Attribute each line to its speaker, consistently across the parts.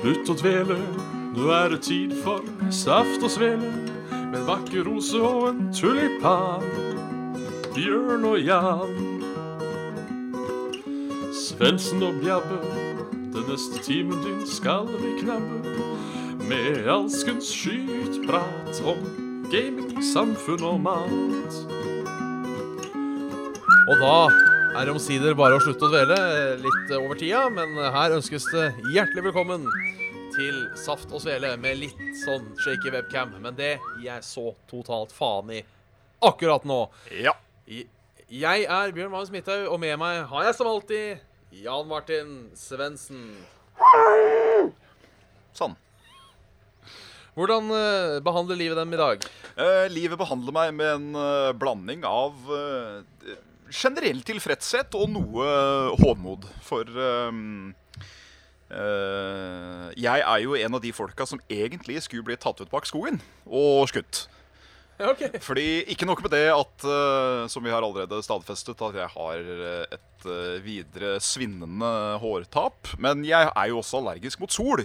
Speaker 1: Slutt å dvele, nå er det tid for saft og svele. Med en vakker rose og en tulipan. Bjørn og Jan. Svendsen og Bjabbe, den neste timen din skal vi knabbe. Med alskens skytprat om gaming, samfunn og mat.
Speaker 2: Og da er det omsider bare å slutte å dvele litt over tida, men her ønskes det hjertelig velkommen til Saft og Svele med litt sånn shaky webcam. Men det gir jeg så totalt faen i akkurat nå.
Speaker 3: Ja.
Speaker 2: I- Jeg er Bjørn Magnus Midthaug, og med meg har jeg som alltid Jan Martin Svendsen.
Speaker 3: Sånn.
Speaker 2: Hvordan eh, behandler livet dem i dag?
Speaker 3: Eh, livet behandler meg med en eh, blanding av eh, generell tilfredshet og noe hånmod. For eh, eh, jeg er jo en av de folka som egentlig skulle bli tatt ut bak skogen og skutt.
Speaker 2: Ja, OK.
Speaker 3: Fordi ikke nok med det at, eh, som vi har allerede stadfestet, at jeg har eh, et eh, videre svinnende hårtap. Men jeg er jo også allergisk mot sol.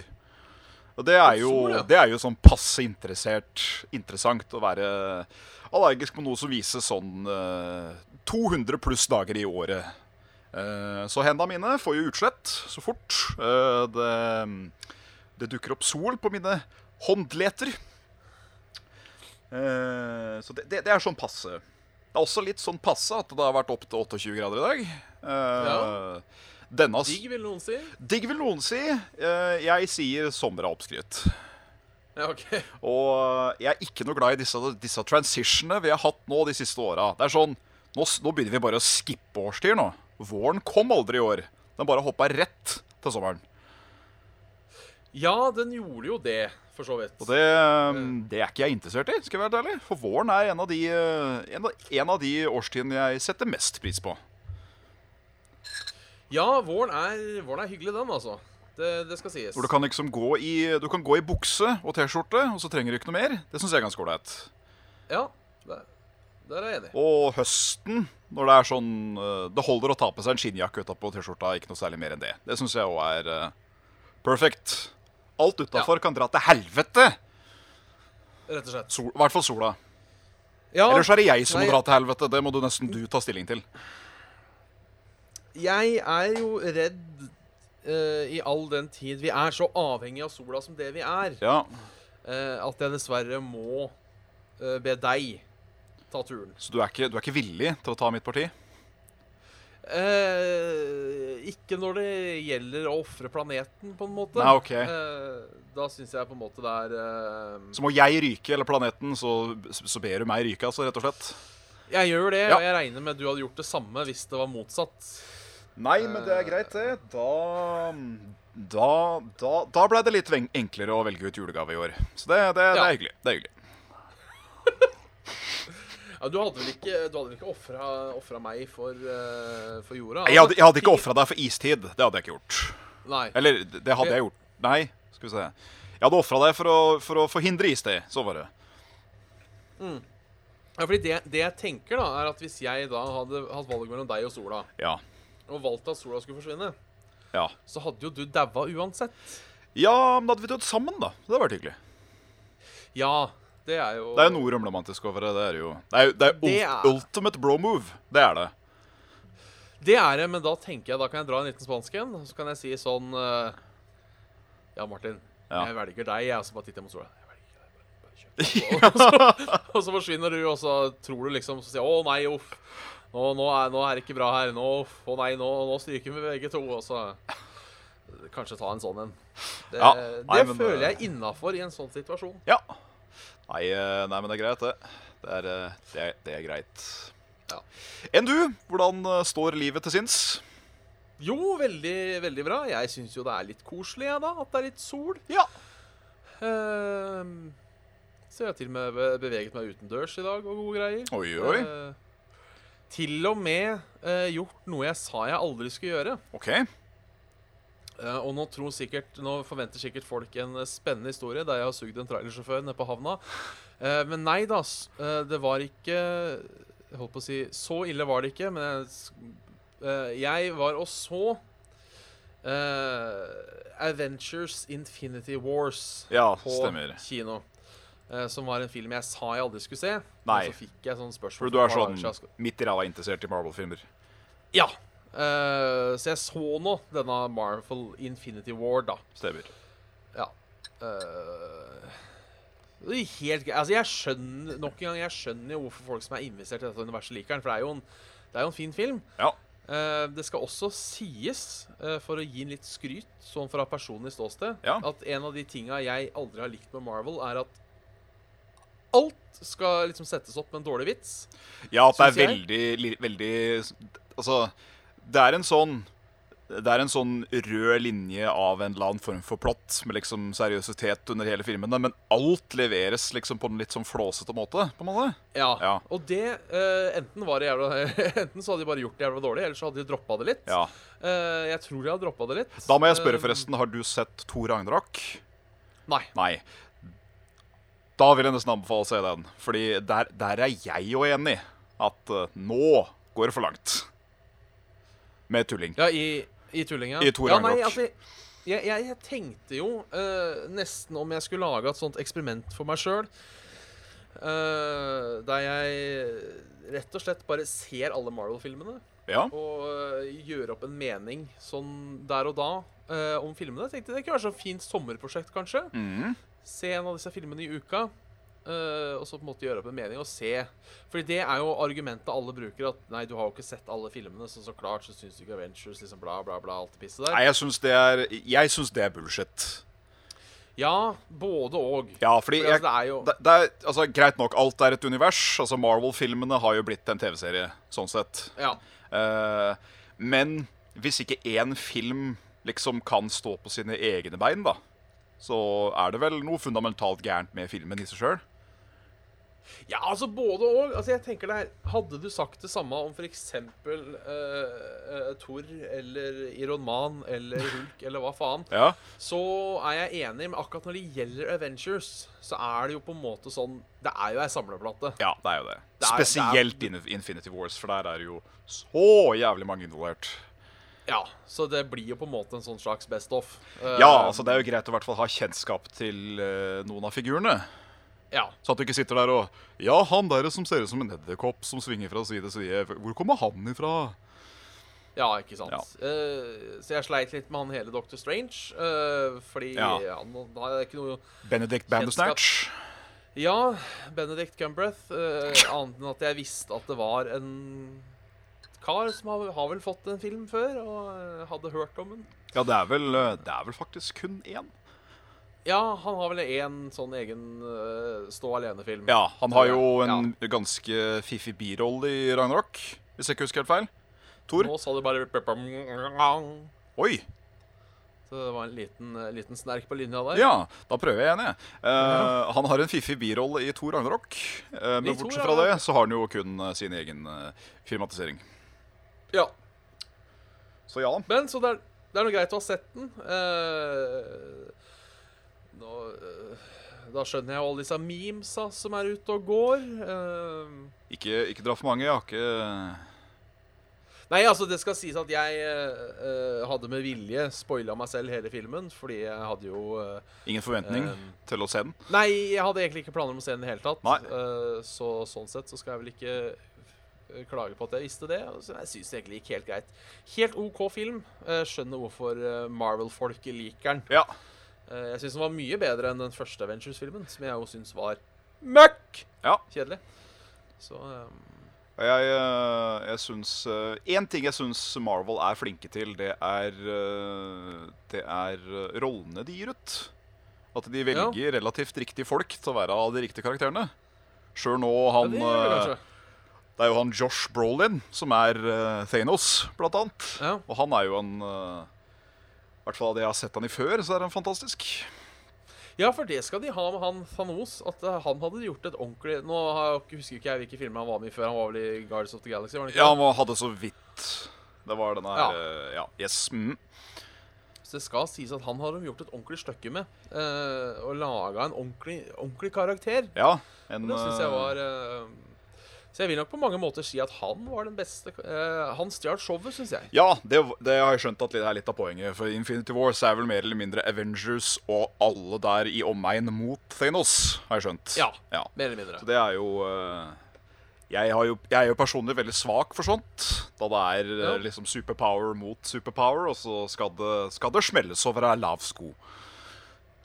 Speaker 3: Og det er jo,
Speaker 2: Sol, ja.
Speaker 3: det er jo sånn passe interessert, interessant å være allergisk mot noe som vises sånn eh, 200 pluss dager i året. Eh, så hendene mine får jo utslett så fort. eh, det, det dukker opp sol på mine håndleter. Eh, så det, det, det er sånn passe. Det er også litt sånn passe at det har vært opp til 28 grader i dag. Eh,
Speaker 2: Ja.
Speaker 3: Denne
Speaker 2: Digg, vil noen si.
Speaker 3: Digg vil noen si. Eh, Jeg sier sommer er oppskrytt.
Speaker 2: Ja, OK.
Speaker 3: Og jeg er ikke noe glad i disse, disse transitionene vi har hatt nå de siste åra. Det er sånn nå, s- nå begynner vi bare å skippe årstider nå. Våren kom aldri i år. Den bare hoppa rett til sommeren.
Speaker 2: Ja, den gjorde jo det, for så vidt.
Speaker 3: Og det, eh, det er ikke jeg interessert i, skal jeg være helt ærlig. For våren er en av de, eh, en av, en av de årstidene jeg setter mest pris på.
Speaker 2: Ja, våren er, våren er hyggelig, den, altså. Det, det skal sies.
Speaker 3: Hvor du kan liksom gå i, du kan gå i bukse og T-skjorte, og så trenger du ikke noe mer. Det syns jeg er ganske ålreit.
Speaker 2: Ja, der, der er jeg enig.
Speaker 3: Og høsten, når det er sånn eh, Det holder å ta på seg en skinnjakke utapå T-skjorta. Ikke noe særlig mer enn det. Det syns jeg òg er eh, perfect. Alt utafor kan dra til helvete!
Speaker 2: Rett og slett.
Speaker 3: Sol, I hvert fall sola.
Speaker 2: Ja,
Speaker 3: Ellers er det jeg som
Speaker 2: nei.
Speaker 3: må dra til helvete. Det må du nesten du ta stilling til.
Speaker 2: jeg er jo redd eh, i all den tid vi er så avhengig av sola som det vi er,
Speaker 3: Ja,
Speaker 2: eh, at jeg dessverre må eh, be deg ta turen.
Speaker 3: Så du er, ikke, du er ikke villig til å ta mitt parti?
Speaker 2: Eh, ikke når det gjelder å ofre planeten, på en måte.
Speaker 3: Nei, ok.
Speaker 2: Eh, da syns jeg på en måte det er eh,
Speaker 3: Så må jeg ryke, eller planeten, så, så ber du meg ryke, altså, rett og slett?
Speaker 2: Jeg gjør det,
Speaker 3: Ja.
Speaker 2: og jeg regner med at du hadde gjort det samme hvis det var motsatt.
Speaker 3: Nei, men det er greit, det. Da Da, da, da blei det litt ven- enklere å velge ut julegave i år. Så det, det, det
Speaker 2: Ja.
Speaker 3: er hyggelig. Det er hyggelig.
Speaker 2: Ja, du hadde vel ikke, du hadde vel ikke ofra, ofra meg for, eh, for jorda?
Speaker 3: Jeg hadde, jeg hadde ikke ofra deg for istid. Det hadde jeg ikke gjort.
Speaker 2: Nei.
Speaker 3: Eller, det hadde jeg gjort. Nei, skal vi se. Jeg hadde ofra deg for å, for å forhindre istid. Så var det.
Speaker 2: Ja, fordi det, det jeg tenker, da, er at hvis jeg da hadde hatt valget mellom deg og sola,
Speaker 3: Ja.
Speaker 2: og valgt at sola skulle forsvinne,
Speaker 3: Ja,
Speaker 2: så hadde jo du daua uansett.
Speaker 3: ja men da hadde vi dødd sammen, da. Det hadde vært hyggelig.
Speaker 2: Ja, det er jo
Speaker 3: Det er jo noe romromantisk over det. Det er jo Det er, jo- det er,
Speaker 2: Det
Speaker 3: ult-
Speaker 2: er-
Speaker 3: ultimate bro move. Det er det.
Speaker 2: Det er det, men da tenker jeg da kan jeg dra en liten spansk en, og så kan jeg si sånn eh, Ja, Martin,
Speaker 3: Ja.
Speaker 2: jeg velger deg, jeg, og så bare titter jeg mot sola. «Jeg velger deg, bare- bare kjør på». Og så- Og så forsvinner du, og så tror du liksom Så sier jeg 'Å nei, uff'. Nå, nå, er, nå er det ikke bra her. Nå, uff, å nei, nå, nå stryker vi begge to. Og så kanskje ta en sånn en. Det,
Speaker 3: Ja, nei,
Speaker 2: det
Speaker 3: men,
Speaker 2: føler
Speaker 3: eh,
Speaker 2: jeg innafor i en sånn situasjon.
Speaker 3: Ja. Nei, eh, nei, men det er greit, det. Det er, eh, det er, det er greit.
Speaker 2: Ja.
Speaker 3: Enn du? Hvordan eh, står livet til sinns?
Speaker 2: Jo, veldig, veldig bra. Jeg syns jo det er litt koselig, jeg, da. At det er litt sol.
Speaker 3: Ja.
Speaker 2: Ehm, så jeg har til og med be- beveget meg utendørs i dag og gode greier.
Speaker 3: Oi, oi.
Speaker 2: Eh, til og med eh, gjort noe jeg sa jeg aldri skulle gjøre.
Speaker 3: OK.
Speaker 2: Eh, og nå, tror sikkert, nå forventer sikkert folk en eh, spennende historie der jeg har sugd en trailersjåfør nede på havna. Eh, men nei da. s- eh, det var ikke Jeg holdt på å si Så ille var det ikke, men jeg, s- eh, jeg var og så eh, Adventures Infinity Wars
Speaker 3: Ja,
Speaker 2: på
Speaker 3: stemmer.
Speaker 2: kino. eh, som var en film jeg sa jeg aldri skulle se.
Speaker 3: Nei.
Speaker 2: Og så fikk jeg sånn spørsmål.
Speaker 3: For
Speaker 2: for
Speaker 3: du
Speaker 2: et
Speaker 3: er
Speaker 2: par dager
Speaker 3: sånn
Speaker 2: siden jeg skulle-
Speaker 3: midt i ræva interessert i Marvel-filmer.
Speaker 2: Ja. eh, så jeg så nå denne Marvel Infinity War, da.
Speaker 3: Stemmer.
Speaker 2: Ja. Eh, det er helt greit. Altså, jeg skjønner nok en gang Jeg skjønner jo hvorfor folk som er investert i dette universet, liker den. For det er jo en, det er jo en fin film.
Speaker 3: Ja.
Speaker 2: Eh, det skal også sies, eh, for å gi en litt skryt, sånn fra personlig ståsted,
Speaker 3: Ja.
Speaker 2: at en av de tinga jeg aldri har likt med Marvel, er at alt skal liksom settes opp med en dårlig vits.
Speaker 3: Ja, at det er
Speaker 2: Synes
Speaker 3: veldig, li- veldig Altså, det er en sånn det er en sånn rød linje av en eller annen form for plott, med liksom seriøsitet under hele filmene, men alt leveres liksom på en litt sånn flåsete måte. på en måte.
Speaker 2: Ja.
Speaker 3: Ja.
Speaker 2: Og det eh, Enten var det jævla Enten så hadde de bare gjort det jævla dårlig, eller så hadde de droppa det litt.
Speaker 3: Ja.
Speaker 2: Eh, jeg tror de hadde droppa det litt.
Speaker 3: Da må jeg spørre,
Speaker 2: Eh,
Speaker 3: forresten, har du sett Thor Ragnarok?
Speaker 2: Nei.
Speaker 3: Nei. Da vil jeg nesten anbefale å se den, Fordi der, der er jeg jo enig. At eh, nå går det for langt. Med tulling.
Speaker 2: Ja, i, i tullinga.
Speaker 3: I Thor
Speaker 2: ja, nei,
Speaker 3: Ragnarok.
Speaker 2: altså, jeg, jeg, jeg tenkte jo eh, nesten om jeg skulle lage et sånt eksperiment for meg sjøl. der jeg rett og slett bare ser alle Marvel-filmene
Speaker 3: Ja.
Speaker 2: og eh, gjør opp en mening sånn der og da eh, om filmene. Jeg tenkte Det kunne være så fint sommerprosjekt, kanskje.
Speaker 3: Mhm.
Speaker 2: Se en av disse filmene i uka. eh, og så på en måte gjøre opp en mening og se. Fordi det er jo argumentet alle bruker. At nei, du har jo ikke sett alle filmene, så så klart så syns du ikke Avengers liksom bla, bla, bla. Alt det pisset der.
Speaker 3: Nei, jeg syns det er Jeg syns det er bullshit.
Speaker 2: Ja, både og.
Speaker 3: Ja, fordi
Speaker 2: Fordi, altså,
Speaker 3: jeg,
Speaker 2: det er jo
Speaker 3: det, det er altså, Greit nok, alt er et univers. Altså, Marvel-filmene har jo blitt en TV-serie, sånn sett.
Speaker 2: Ja.
Speaker 3: Eh, men hvis ikke én film liksom kan stå på sine egne bein, da, så er det vel noe fundamentalt gærent med filmen i seg sjøl.
Speaker 2: ja, altså både og. Altså, jeg tenker det her Hadde du sagt det samme om f.eks. Uh, eh, Thor eller Iron Man eller Hulk eller hva faen,
Speaker 3: Ja.
Speaker 2: så er jeg enig, men akkurat når det gjelder Avengers, så er det jo på en måte sånn Det er jo ei samleplate.
Speaker 3: ja, det er jo det.
Speaker 2: Det er-
Speaker 3: Spesielt in Infinity Wars, for der er det jo så jævlig mange involvert.
Speaker 2: Ja, så det blir jo på en måte en sånn slags best of. Eh,
Speaker 3: Ja, altså Det er jo greit å i hvert fall ha kjennskap til eh, noen av figurene.
Speaker 2: ja.
Speaker 3: Så at du ikke sitter der og Ja, han der som ser ut som en edderkopp som svinger fra side til side. Hvor kommer han ifra?
Speaker 2: Ja, ikke sant.
Speaker 3: Ja.
Speaker 2: Eh, så jeg sleit litt med han hele Dr. Strange, eh, fordi
Speaker 3: Ja.
Speaker 2: han han er ikke noe
Speaker 3: Benedict Bandersnatch.
Speaker 2: Ja, Benedict Cumbreth. eh, annet enn at jeg visste at det var en kar som har, har vel fått en film før, og eh, hadde hørt om den.
Speaker 3: Ja, det er vel, eh, det er vel faktisk kun én.
Speaker 2: Ja, han har vel en sånn egen eh, stå alene-film.
Speaker 3: Ja, han har jo en ganske fiffig birolle i Ragnarok, hvis jeg ikke husker helt feil. Tor?
Speaker 2: Nå sa du bare Så
Speaker 3: Oi!
Speaker 2: det var en liten, eh, liten snerk på linja der.
Speaker 3: Ja, da prøver jeg igjen, jeg. Eh, Han har en fiffig birolle i Thor Ragnarok, eh, men
Speaker 2: I Thor,
Speaker 3: bortsett fra
Speaker 2: ja.
Speaker 3: det så har han jo kun eh, sin egen eh, filmatisering.
Speaker 2: Ja.
Speaker 3: Så ja.
Speaker 2: Men så det er, det er noe greit å ha sett den. Eh, nå, eh, da skjønner jeg jo alle disse memesa som er ute og går. Eh,
Speaker 3: Ikke, ikke dra for mange. Jeg har ikke eh,
Speaker 2: Nei, altså det skal sies at jeg eh, eh, hadde med vilje spoila meg selv hele filmen, fordi jeg hadde jo eh,
Speaker 3: Ingen forventning
Speaker 2: Um.
Speaker 3: til å se den.
Speaker 2: Nei, jeg hadde egentlig ikke planer om å se den i det hele tatt.
Speaker 3: Nei.
Speaker 2: Eh, så sånn sett så skal jeg vel ikke eh, klage på at jeg visste det. Så jeg syns det egentlig gikk helt greit. Helt OK film. Eh, skjønner hvorfor eh, Marvel-folket liker den.
Speaker 3: Ja.
Speaker 2: Eh, jeg syns den var mye bedre enn den første Avengers-filmen, som jeg jo syns var møkk
Speaker 3: Ja.
Speaker 2: kjedelig. Så eh,
Speaker 3: Og Jeg, eh, jeg syns Én ting jeg syns Marvel er flinke til, det er eh, Det er eh, rollene de gir ut. At de velger relativt riktige folk til å være av de riktige karakterene. Sjøl nå han eh,
Speaker 2: ja, det gjør
Speaker 3: det,
Speaker 2: det
Speaker 3: er
Speaker 2: kanskje.
Speaker 3: det er jo han Josh Brolin som er eh, Thanos, blant annet.
Speaker 2: Ja.
Speaker 3: Og han er jo en eh, I hvert fall av det jeg har sett han i før, så er han fantastisk.
Speaker 2: Ja, for det skal de ha med han Thanos. At eh, han hadde gjort et ordentlig Nå har jeg ikke- husker ikke jeg hvilke filmer han var med i før. Han var vel i Guards of the Galaxy? var han ikke
Speaker 3: Ja,
Speaker 2: det?
Speaker 3: han var- hadde så vidt Det var denne her eh, Ja. Yes. Mm.
Speaker 2: Så det skal sies at han har de gjort et ordentlig stykke med. eh, og laga en ordentlig, ordentlig karakter.
Speaker 3: Ja. En,
Speaker 2: Det syns jeg
Speaker 3: eh,
Speaker 2: var eh, Så jeg vil nok på mange måter si at han var den beste eh, Han stjal showet, syns jeg.
Speaker 3: Ja, det, det har jeg skjønt at det er litt av poenget. For Infinity Wars er vel mer eller mindre Avengers og alle der i omegn mot Thanos, har jeg skjønt.
Speaker 2: Ja, Mer eller mindre.
Speaker 3: Så det er jo eh, jeg, har jo jeg er jo personlig veldig svak for sånt. Da det er
Speaker 2: Ja.
Speaker 3: eh, liksom superpower mot superpower, og så skal det, skal det smelles over ei lav sko.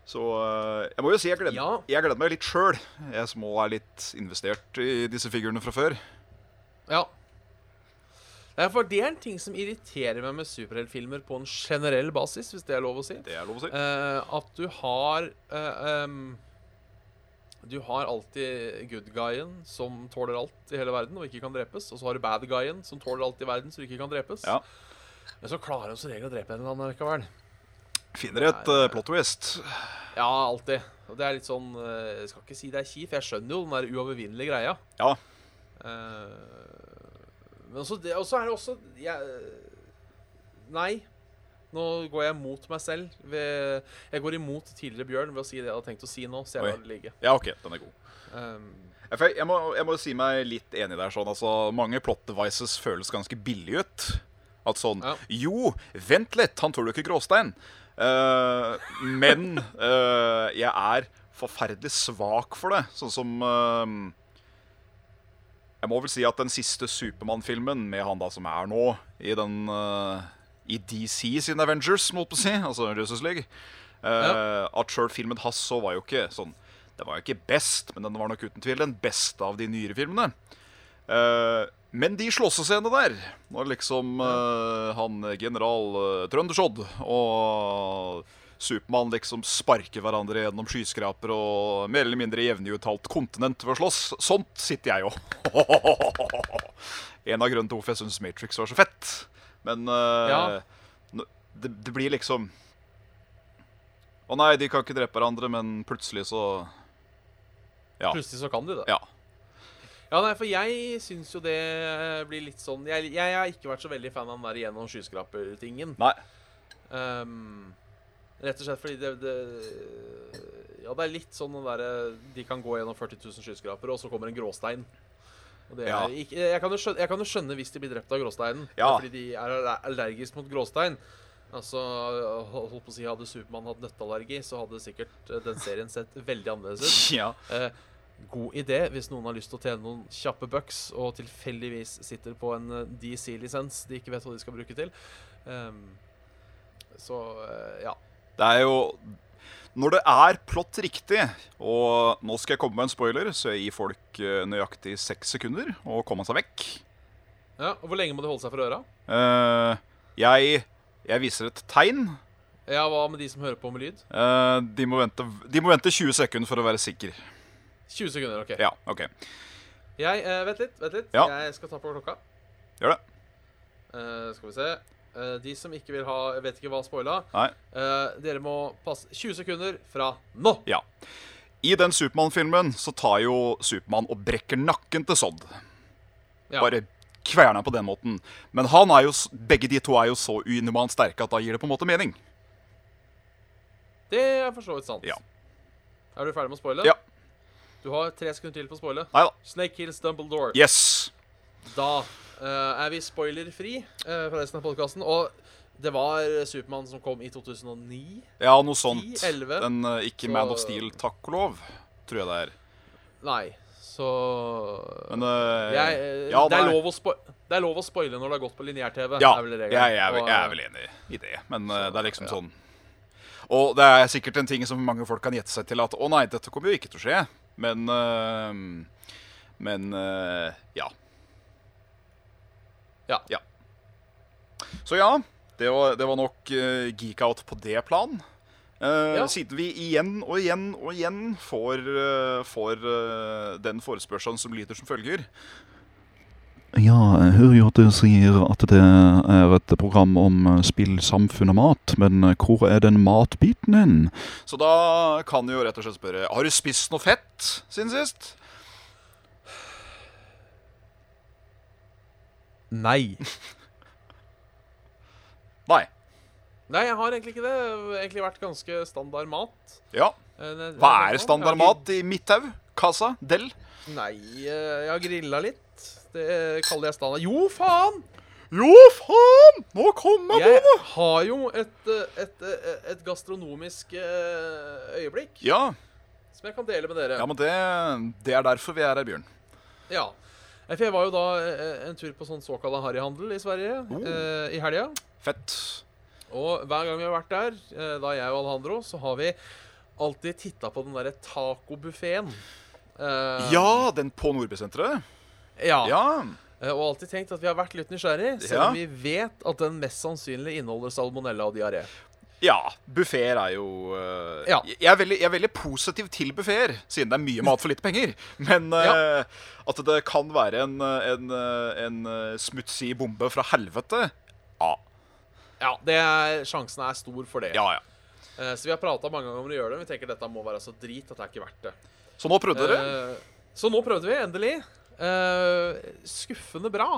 Speaker 3: Så eh, jeg må jo si jeg gleder,
Speaker 2: Ja.
Speaker 3: jeg gleder meg litt sjøl, jeg som òg er litt investert i disse figurene fra før.
Speaker 2: Ja. Nei, for det er en ting som irriterer meg med superheltfilmer på en generell basis, hvis det er lov å si.
Speaker 3: Det er lov å si.
Speaker 2: Eh, at du har eh, em, Du har alltid good guyen som tåler alt i hele verden og ikke kan drepes. Og så har du bad guyen som tåler alt i verden så du ikke kan drepes.
Speaker 3: Ja.
Speaker 2: Men så klarer han som regel å drepe en eller annen likevel.
Speaker 3: Finner et
Speaker 2: Nei,
Speaker 3: eh, plot twist.
Speaker 2: Ja, alltid. Og det er litt sånn eh, Jeg skal ikke si det er kjipt, for jeg skjønner jo den der uovervinnelige greia.
Speaker 3: Ja.
Speaker 2: Eh, men også, det, også er det også jeg, Nei. Nå går jeg mot meg selv. Ved, jeg går imot tidligere Bjørn ved å si det jeg hadde tenkt å si nå. Så jeg
Speaker 3: Oi.
Speaker 2: lar det ligge.
Speaker 3: Ja, OK, den er god.
Speaker 2: Um,
Speaker 3: Ja, for Jeg jeg må, jeg må si meg litt enig der. sånn, altså Mange plot devices føles ganske billig ut. At sånn
Speaker 2: Ja.
Speaker 3: Jo, vent litt, han tåler jo ikke gråstein. Eh, men eh, jeg er forferdelig svak for det. Sånn som eh, Jeg må vel si at den siste Supermann-filmen med han da som er nå i den eh, I DC sin Avengers, må jeg på å si, altså Justice League eh, At sjøl filmen hans så var jo ikke sånn Den var jo ikke best, men den var nok uten tvil den beste av de nyere filmene. Eh, men de slåssescenene der, når liksom eh, han general uh, Trøndersodd og Supermann liksom sparker hverandre gjennom skyskraper og mer eller mindre jevnuttalt kontinent ved å slåss, sånt sitter jeg jo. en av grunnene til hvorfor jeg syns Matrix var så fett. Men eh,
Speaker 2: Ja.
Speaker 3: nå- det, det blir liksom Å nei, de kan ikke drepe hverandre, men plutselig så Ja.
Speaker 2: Plutselig så kan de det.
Speaker 3: Ja.
Speaker 2: Ja, nei, for jeg syns jo det blir litt sånn Jeg, jeg har ikke vært så veldig fan av den der gjennom skyskraper-tingen.
Speaker 3: Nei.
Speaker 2: Um, rett og slett fordi det, det Ja, det er litt sånn den derre De kan gå gjennom 40 000 skyskrapere, og så kommer en gråstein. Og det er,
Speaker 3: Ja.
Speaker 2: ikke, jeg, kan jo skjønne, jeg kan jo skjønne hvis de blir drept av gråsteinen,
Speaker 3: Ja.
Speaker 2: fordi de er aller- allergisk mot gråstein. Altså, hold holdt på å si Hadde Supermann hatt nøtteallergi, så hadde sikkert eh, den serien sett veldig annerledes ut.
Speaker 3: ja.
Speaker 2: Eh, god idé hvis noen har lyst til å tjene noen kjappe bucks og tilfeldigvis sitter på en eh, DC-lisens de ikke vet hva de skal bruke til. Ehm, så eh, ja.
Speaker 3: Det er jo Når det er plott riktig Og nå skal jeg komme med en spoiler, så jeg gir folk eh, nøyaktig seks sekunder å komme seg vekk.
Speaker 2: ja. og Hvor lenge må de holde seg for øra?
Speaker 3: Eh, jeg, jeg viser et tegn.
Speaker 2: Ja, Hva med de som hører på med lyd?
Speaker 3: Eh, de, må vente, de må vente 20 sekunder for å være sikker.
Speaker 2: 20 sekunder, OK.
Speaker 3: Ja, OK.
Speaker 2: Jeg, eh, vent litt. vent litt
Speaker 3: Ja.
Speaker 2: Jeg skal ta på klokka.
Speaker 3: Gjør det.
Speaker 2: Eh, skal vi se. Eh, de som ikke vil ha Jeg vet ikke hva spoila.
Speaker 3: Nei.
Speaker 2: eh, dere må passe 20 sekunder fra nå.
Speaker 3: Ja. I den Supermann-filmen så tar jo Supermann og brekker nakken til Sodd.
Speaker 2: Ja.
Speaker 3: Bare kverner på den måten. Men han er jo, s- begge de to er jo så uinhumant sterke at da gir det på en måte mening.
Speaker 2: Det er for så vidt sant.
Speaker 3: Ja.
Speaker 2: Er du ferdig med å spoile?
Speaker 3: Ja.
Speaker 2: Du har tre sekunder til på å spoile.
Speaker 3: Nei da.
Speaker 2: Snake Hills Dumbledore.
Speaker 3: Yes.
Speaker 2: Da eh, er vi spoilerfri eh, fra resten av podkasten. Og det var Supermann som kom i 2009.
Speaker 3: Ja, noe sånt.
Speaker 2: 11.
Speaker 3: Den eh, ikke
Speaker 2: Så-
Speaker 3: Man of Steel, takk og lov, tror jeg det er.
Speaker 2: Nei, så
Speaker 3: Men eh,
Speaker 2: jeg, eh,
Speaker 3: ja,
Speaker 2: det, er
Speaker 3: nei.
Speaker 2: lov å spoi- det er lov å spoile når det har gått på lineær-TV.
Speaker 3: Ja,
Speaker 2: er vel regelen.
Speaker 3: jeg, jeg, er vel-
Speaker 2: Og,
Speaker 3: jeg er vel enig i det, men eh, det er liksom sånn Og det er sikkert en ting som mange folk kan gjette seg til at å nei, dette kommer jo ikke til å skje, men eh, Men eh, ja.
Speaker 2: Ja.
Speaker 3: ja. Så ja, det var, det var nok eh, geek out på det plan. Eh,
Speaker 2: Ja.
Speaker 3: Siden vi igjen og igjen og igjen får, eh, får eh, den forespørselen som lyder som følger
Speaker 4: Ja, jeg hører jo at du sier at det er et program om eh, spill, samfunn og mat, men eh, hvor er den matbiten din?
Speaker 3: Så da kan du jo rett og slett spørre Har du spist noe fett siden sist?
Speaker 2: Nei.
Speaker 3: Nei.
Speaker 2: Nei, jeg har egentlig ikke det. Det har Egentlig vært ganske standard mat.
Speaker 3: Ja.
Speaker 2: Eh, det-
Speaker 3: Hva er
Speaker 2: Jeg har ikke-
Speaker 3: standardmat i Midthaug? Casa? Del?
Speaker 2: Nei, eh, jeg har grilla litt. Det kaller jeg standard. Jo, faen!
Speaker 3: Jo, faen! Nå kom jeg på
Speaker 2: Jeg
Speaker 3: det!
Speaker 2: har jo et, eh, et, eh, et gastronomisk eh, øyeblikk
Speaker 3: Ja,
Speaker 2: som jeg kan dele med dere.
Speaker 3: ja men det, det er derfor vi er her, Bjørn.
Speaker 2: Ja. Eh, For jeg var jo da eh, en tur på sånn såkalla harryhandel i Sverige
Speaker 3: Oh.
Speaker 2: eh, i helga.
Speaker 3: Fett.
Speaker 2: Og hver gang vi har vært der, eh, da jeg og Alejandro, så har vi alltid titta på den derre tacobuffeen. Eh,
Speaker 3: Ja, den på Nordbysenteret?
Speaker 2: ja.
Speaker 3: Ja.
Speaker 2: Eh, Og alltid tenkt at vi har vært litt nysgjerrig, selv
Speaker 3: Ja.
Speaker 2: om vi vet at den mest sannsynlig inneholder salmonella og diaré.
Speaker 3: Ja, buffeer er jo eh,
Speaker 2: Ja.
Speaker 3: jeg, er veldig, jeg er veldig positiv til buffeer, siden det er mye mat for litt penger. Men eh, at det kan være en, eh, en, eh, en eh, smutsig bombe fra helvete Ja,
Speaker 2: Ja, det er, sjansen er stor for det.
Speaker 3: ja. ja.
Speaker 2: Eh, Så vi har prata mange ganger om å gjøre det. men Vi tenker dette må være så drit at det er ikke verdt det.
Speaker 3: Så nå prøvde dere.
Speaker 2: Eh, Så nå prøvde vi, endelig. Eh, Skuffende bra.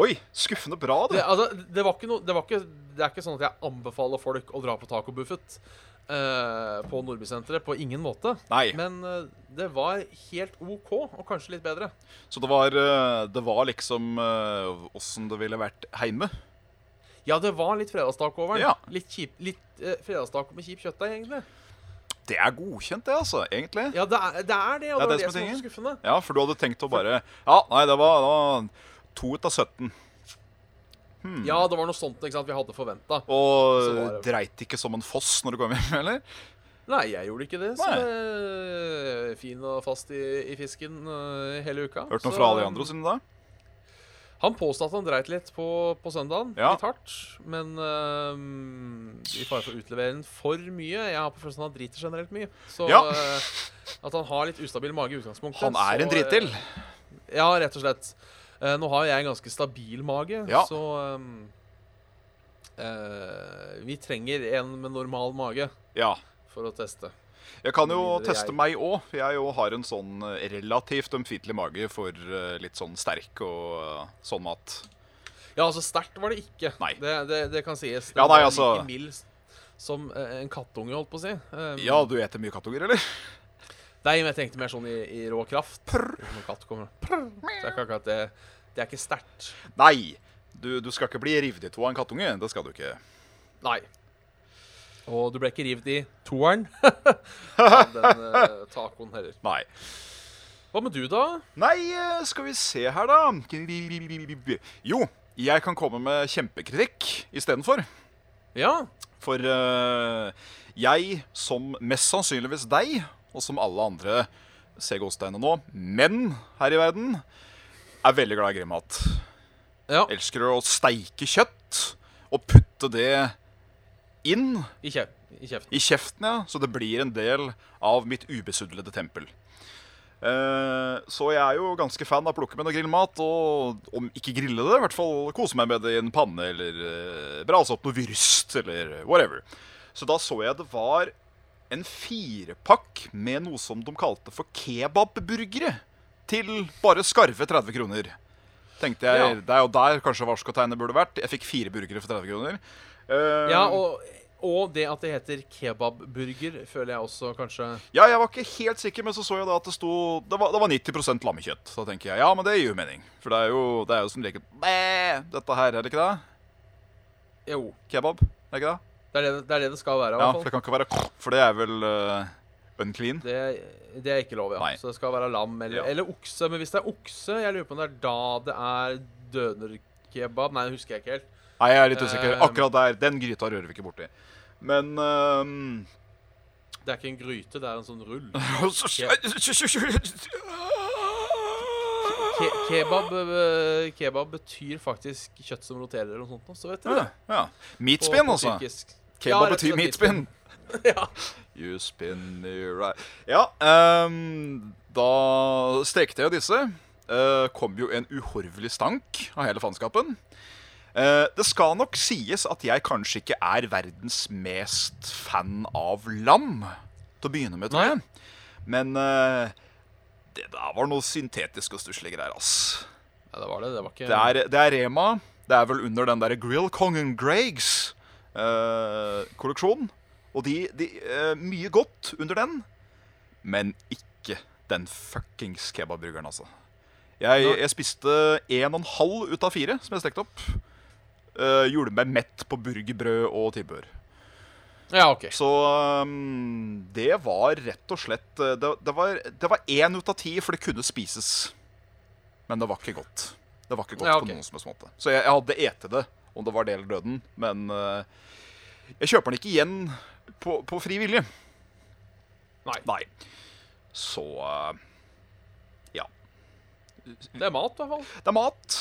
Speaker 3: Oi, skuffende bra,
Speaker 2: Det,
Speaker 3: det.
Speaker 2: altså, det var ikke noe det, var ikke, det er ikke sånn at jeg anbefaler folk å dra på tacobuffet eh, på Nordbysenteret. På ingen måte.
Speaker 3: Nei.
Speaker 2: Men eh, det var helt OK, og kanskje litt bedre.
Speaker 3: Så det var, eh, det var liksom eh, åssen det ville vært heime.
Speaker 2: Ja, det var litt fredagstaco over den.
Speaker 3: Ja.
Speaker 2: Litt, kjip, litt eh, fredagstaco med kjip kjøttdeig, egentlig.
Speaker 3: Det er godkjent, det, altså. Egentlig.
Speaker 2: Ja,
Speaker 3: Ja,
Speaker 2: det er det, er det og det,
Speaker 3: Det er
Speaker 2: var
Speaker 3: det
Speaker 2: det
Speaker 3: som
Speaker 2: som
Speaker 3: er
Speaker 2: var så skuffende.
Speaker 3: for du hadde tenkt å bare Ja, nei, det var, det var to ut av 17. Mm.
Speaker 2: Ja, det var noe sånt ikke sant, vi hadde forventa. Så var
Speaker 3: Og
Speaker 2: det-
Speaker 3: dreit ikke som en foss når du kom hjem, eller?
Speaker 2: Nei, jeg gjorde ikke det. Så
Speaker 3: Nei.
Speaker 2: eh, fin og fast i, i fisken eh, hele uka.
Speaker 3: Hørt noe
Speaker 2: Så,
Speaker 3: fra alle de
Speaker 2: eh,
Speaker 3: andre siden da?
Speaker 2: Han påstod at han dreit litt på, på søndagen,
Speaker 3: Ja.
Speaker 2: litt hardt. Men øhm, i fare for å utlevere den for mye Jeg har på følelsen at han driter generelt mye. Så
Speaker 3: Ja.
Speaker 2: øh, at han har litt ustabil mage i utgangspunktet
Speaker 3: Han er en
Speaker 2: så, øh,
Speaker 3: drittil.
Speaker 2: Ja, rett og slett. Eh, nå har jo jeg en ganske stabil mage,
Speaker 3: Ja.
Speaker 2: så øhm, eh, Vi trenger en med normal mage
Speaker 3: Ja.
Speaker 2: for å teste.
Speaker 3: Jeg kan jo
Speaker 2: Mindre
Speaker 3: teste
Speaker 2: jeg.
Speaker 3: meg òg. Jeg jo har en sånn eh, relativt ømfintlig mage for eh, litt sånn sterk og eh, sånn mat.
Speaker 2: Ja, altså sterkt var det ikke.
Speaker 3: Nei.
Speaker 2: Det, det, det kan sies. Det
Speaker 3: Ja, nei,
Speaker 2: var
Speaker 3: altså-
Speaker 2: Like mild s- som eh, en kattunge, holdt på å si. Um,
Speaker 3: Ja, du eter mye kattunger, eller?
Speaker 2: Nei, men jeg tenkte mer sånn i, i rå kraft. Når katt kommer Prr. Det er ikke akkurat det. Det er ikke sterkt.
Speaker 3: Nei. Du, du skal ikke bli revet i to av en kattunge. Det skal du ikke.
Speaker 2: Nei. Og du ble ikke revet i toeren av den eh, tacoen heller.
Speaker 3: Nei.
Speaker 2: Hva med du, da?
Speaker 3: Nei, eh, skal vi se her, da. Jo, jeg kan komme med kjempekritikk istedenfor.
Speaker 2: Ja.
Speaker 3: For eh, jeg, som mest sannsynligvis deg, og som alle andre CG Osteinet nå, menn her i verden, er veldig glad i grimmat.
Speaker 2: ja.
Speaker 3: Elsker å steike kjøtt og putte det inn
Speaker 2: I, kje, I kjeften.
Speaker 3: i kjeften, ja. Så det blir en del av mitt ubesudlede tempel. Eh, så jeg er jo ganske fan av å plukke med noe grillmat. Og om ikke grille det, i hvert fall kose meg med det i en panne eller eh, brase opp noe vyrst eller whatever. Så da så jeg det var en firepakk med noe som de kalte for kebabburgere. Til bare skarve 30 kroner. Tenkte jeg,
Speaker 2: Ja.
Speaker 3: Det er jo der kanskje varskotegnet burde vært. Jeg fikk fire burgere for 30 kroner. Eh,
Speaker 2: Ja, og, og det at det heter kebabburger, føler jeg også kanskje
Speaker 3: Ja, jeg var ikke helt sikker, men så så jeg da at det sto Det var, det var 90 lammekjøtt. Så da tenker jeg ja, men det gir jo mening. For det er jo, det er jo som regel Bæ! Dette her, er det ikke det?
Speaker 2: Jo.
Speaker 3: Kebab? Er det ikke det?
Speaker 2: Det er det det, er det, det skal være, i
Speaker 3: Ja,
Speaker 2: hvert
Speaker 3: for
Speaker 2: fall.
Speaker 3: det kan ikke være k- For det er vel eh, unclean?
Speaker 2: Det, det er ikke lov, ja.
Speaker 3: Nei.
Speaker 2: Så det skal være lam eller,
Speaker 3: Ja.
Speaker 2: eller okse. Men hvis det er okse, jeg lurer på om det er da det er dønerkebab. Nei, det husker jeg ikke helt.
Speaker 3: Nei, jeg er litt usikker.
Speaker 2: Eh,
Speaker 3: Akkurat der. Den gryta rører vi ikke borti. Men ehm,
Speaker 2: Det er ikke en gryte, det er en sånn rull. Ke kebab, eh, kebab betyr faktisk kjøtt som roterer eller noe sånt. nå, Så vet dere
Speaker 3: ja,
Speaker 2: det.
Speaker 3: ja.
Speaker 2: På-
Speaker 3: Meatspin,
Speaker 2: på
Speaker 3: altså.
Speaker 2: tyrkisk. Ja,
Speaker 3: Kebab
Speaker 2: rett og
Speaker 3: betyr
Speaker 2: slett
Speaker 3: meatspin.
Speaker 2: Ja.
Speaker 3: You spin me right Ja, ehm, da stekte jeg disse. Eh, kom jo en uhorvelig stank av hele faenskapen. Eh, det skal nok sies at jeg kanskje ikke er verdens mest fan av lam. Til å begynne med, tror jeg. Men eh, det der var noe syntetisk og stusslige greier, ass.
Speaker 2: Nei, det var det. Det var ikke
Speaker 3: Det er, det er Rema. Det er vel under den der Grill Kongen Gregs eh, kolleksjonen. Og de, de eh, Mye godt under den, men ikke den fuckings kebabburgeren, altså. Jeg,
Speaker 2: Ja.
Speaker 3: jeg spiste en og en halv ut av fire som jeg stekte opp. Eh, gjorde meg mett på burgerbrød og tilbehør.
Speaker 2: Ja, OK.
Speaker 3: Så um, det var rett og slett eh, Det, det var- det var én ut av ti, for det kunne spises. Men det var ikke godt. Det var ikke godt
Speaker 2: Ja,
Speaker 3: på
Speaker 2: ok.
Speaker 3: noen som helst måte. Så jeg, jeg hadde ete det, om det var det eller døden. Men eh, jeg kjøper den ikke igjen på, på fri vilje.
Speaker 2: Nei.
Speaker 3: Så eh,
Speaker 2: Det er mat, i hvert fall.
Speaker 3: Det er mat.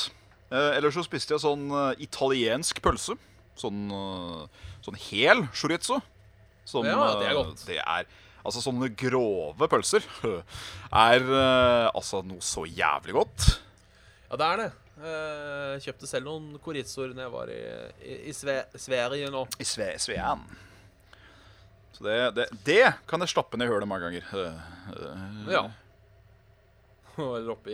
Speaker 3: Eh, ellers så spiste jeg sånn eh, italiensk pølse. Sånn, eh, sånn hel chorizo. Som,
Speaker 2: Ja, det er
Speaker 3: eh,
Speaker 2: godt.
Speaker 3: Det er, altså sånne grove pølser er eh, altså noe så jævlig godt.
Speaker 2: Ja, det er det. Eh, kjøpte selv noen chorizoer da jeg var i, i, i Sve Sverige nå.
Speaker 3: I sve, Sveen. Så det, det, det kan jeg stappe ned i hølet mange ganger. Eh, eh,
Speaker 2: Ja. Eller oppi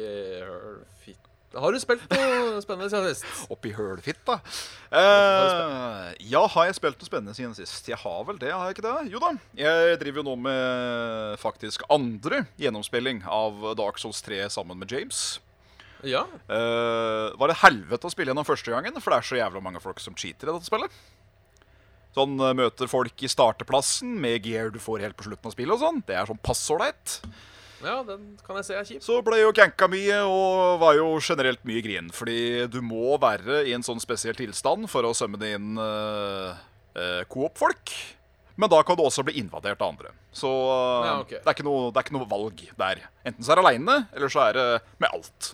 Speaker 2: fitt... Har du spilt noe spennende siden sist?
Speaker 3: Oppi hølfitta. Eh, ja, har jeg spilt noe spennende siden sist? Jeg har vel det, har jeg ikke det? Jo da. Jeg driver jo nå med faktisk andre gjennomspilling av Dark Souls 3 sammen med James.
Speaker 2: Ja.
Speaker 3: Eh, var det helvete å spille gjennom første gangen, for det er så jævla mange folk som cheater i dette spillet. Sånn eh, møter folk i starteplassen med gear du får helt på slutten av spillet og sånn. Det er sånn passordeit.
Speaker 2: ja, den kan jeg se er kjip.
Speaker 3: Så ble jo ganka mye og var jo generelt mye grin. Fordi du må være i en sånn spesiell tilstand for å sømme inn eh, eh, coop-folk. Men da kan du også bli invadert av andre. Så eh,
Speaker 2: Ja, ok.
Speaker 3: det, er ikke noe, det er ikke noe valg der. Enten så er det aleine, eller så er det med alt.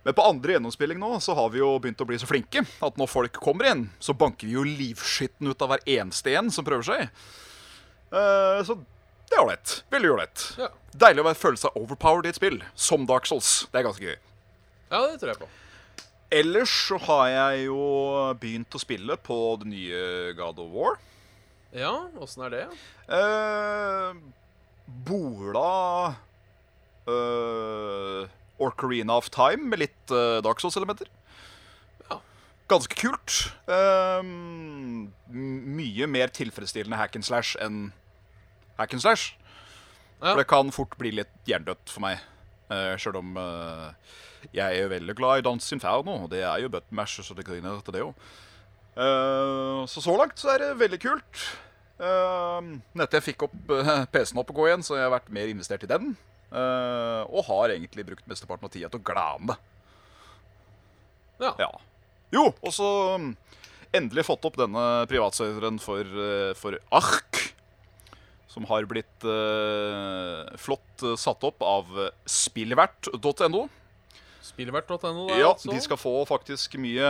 Speaker 3: Men på andre gjennomspilling nå så har vi jo begynt å bli så flinke at når folk kommer inn, så banker vi jo livskitten ut av hver eneste en som prøver seg. Eh, så det er ålreit. Veldig ålreit.
Speaker 2: Ja.
Speaker 3: Deilig å være- føle seg overpowered i et spill, som Dark Souls. Det er ganske gøy.
Speaker 2: Ja, det tror jeg på.
Speaker 3: Ellers så har jeg jo begynt å spille på det nye God of War.
Speaker 2: Ja, åssen er det?
Speaker 3: Eh, bola eh, Orcarina of Time med litt eh, Dark Souls-elementer.
Speaker 2: Ja.
Speaker 3: Ganske kult. Eh, m- mye mer tilfredsstillende hack and slash enn hack and slash.
Speaker 2: Ja.
Speaker 3: For det kan fort bli litt hjernedødt for meg. Uh, Sjøl om eh, jeg er jo veldig glad i Dans Inferno. og Det er jo button mash, så det griner til det òg. Eh, så så langt så er det veldig kult. Uh, Nettet jeg fikk opp eh, PC-en opp og gå igjen, så jeg har vært mer investert i den. eh, og har egentlig brukt mesteparten av tida til å glane.
Speaker 2: Ja.
Speaker 3: Ja. Jo, og så mm, endelig fått opp denne privatserveren for, eh, for Ark. Som har blitt eh, flott eh, satt opp av eh, spillvert.no.
Speaker 2: Spillvert.no, da,
Speaker 3: Ja,
Speaker 2: altså.
Speaker 3: de skal få faktisk mye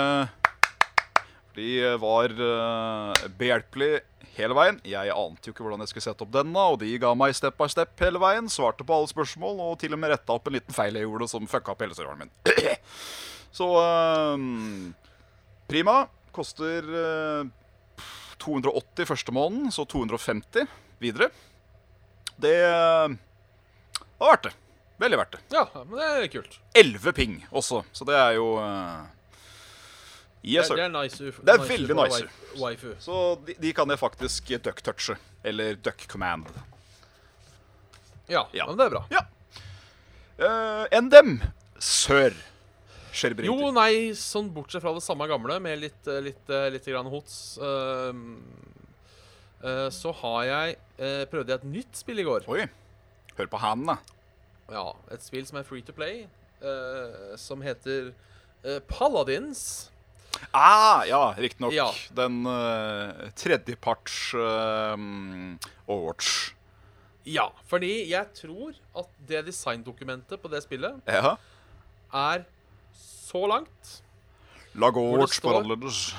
Speaker 3: De var eh, behjelpelig hele veien. Jeg ante jo ikke hvordan jeg skulle sette opp denne, og de ga meg step by step hele veien. Svarte på alle spørsmål, og til og med retta opp en liten feil jeg gjorde som fucka opp hele serveren min. Så eh, prima. Koster eh, 280 første måneden, så 250 videre. Det eh, var verdt det. Veldig verdt det.
Speaker 2: Ja, men det er kult.
Speaker 3: 11 ping også, så det er jo eh, Yes,
Speaker 2: det, det
Speaker 3: sir.
Speaker 2: er nice. uf-
Speaker 3: Det er
Speaker 2: nice
Speaker 3: veldig
Speaker 2: uf-
Speaker 3: nice.
Speaker 2: wai- Waifu.
Speaker 3: Så de, de kan jeg faktisk duck-touche. Eller duck command.
Speaker 2: Ja,
Speaker 3: Ja.
Speaker 2: men det er bra.
Speaker 3: Ja. Uh, NDM sør. Skjer
Speaker 2: Jo,
Speaker 3: briter.
Speaker 2: nei, sånn bortsett fra det samme gamle, med litt, eh, litt, eh, litt grann hots, ehm, eh, så har jeg eh, Prøvde jeg et nytt spill i går.
Speaker 3: Oi. Hør på han, da.
Speaker 2: Ja, Et spill som er free to play, eh, som heter eh, Paladins.
Speaker 3: Ah, ja, riktignok.
Speaker 2: Ja.
Speaker 3: Den eh, tredjeparts eh, Overwatch.
Speaker 2: Ja, fordi jeg tror at det designdokumentet på det spillet
Speaker 3: Ja.
Speaker 2: er så langt
Speaker 3: Lag Overwatch på
Speaker 2: står-
Speaker 3: annerledes.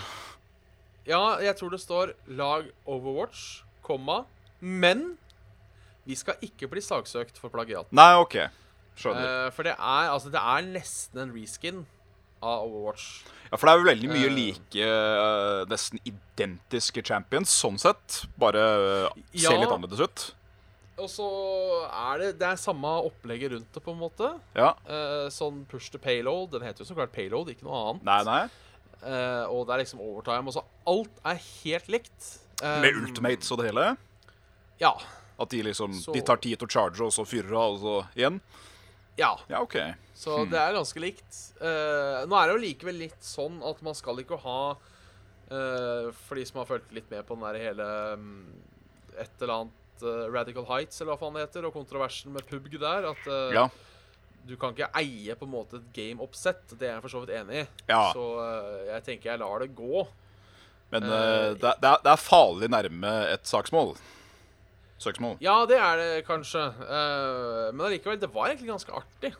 Speaker 2: Ja, jeg tror det står 'lag Overwatch', komma, men vi skal ikke bli saksøkt for plagiat.
Speaker 3: Nei, OK. Skjønner.
Speaker 2: Eh, for det er, altså, det er nesten en reskin av Overwatch.
Speaker 3: Ja, for det er jo veldig mye
Speaker 2: Eh.
Speaker 3: like, eh, nesten identiske champions, sånn sett. Bare eh, ser
Speaker 2: Ja.
Speaker 3: litt annerledes ut.
Speaker 2: Og så er det det er samme opplegget rundt det, på en måte.
Speaker 3: Ja.
Speaker 2: Eh, sånn push to payload. Den heter jo så klart payload, ikke noe annet.
Speaker 3: Nei, nei.
Speaker 2: Eh, og det er liksom overtime. Og så alt er helt likt. Eh,
Speaker 3: Med ultimates og det hele.
Speaker 2: Ja.
Speaker 3: At de liksom
Speaker 2: Så-
Speaker 3: De tar tid til å charge, og så fyrer av, og så igjen?
Speaker 2: Ja,
Speaker 3: Ja, OK.
Speaker 2: så
Speaker 3: Hmm.
Speaker 2: det er ganske likt. Eh, nå er det jo likevel litt sånn at man skal ikke ha eh, For de som har fulgt litt med på den der hele mm, Et eller annet eh, Radical Heights, eller hva faen det heter, og kontroversen med PUBG der, at eh,
Speaker 3: Ja.
Speaker 2: du kan ikke eie på en måte et game-oppsett. Det er jeg for så vidt enig i.
Speaker 3: Ja.
Speaker 2: Så eh, jeg tenker jeg lar det gå.
Speaker 3: Men
Speaker 2: Eh,
Speaker 3: eh, det, er- det, er, det er farlig nærme et saksmål. Søksmål.
Speaker 2: Ja, det er det kanskje. Eh, men allikevel, det var egentlig ganske artig.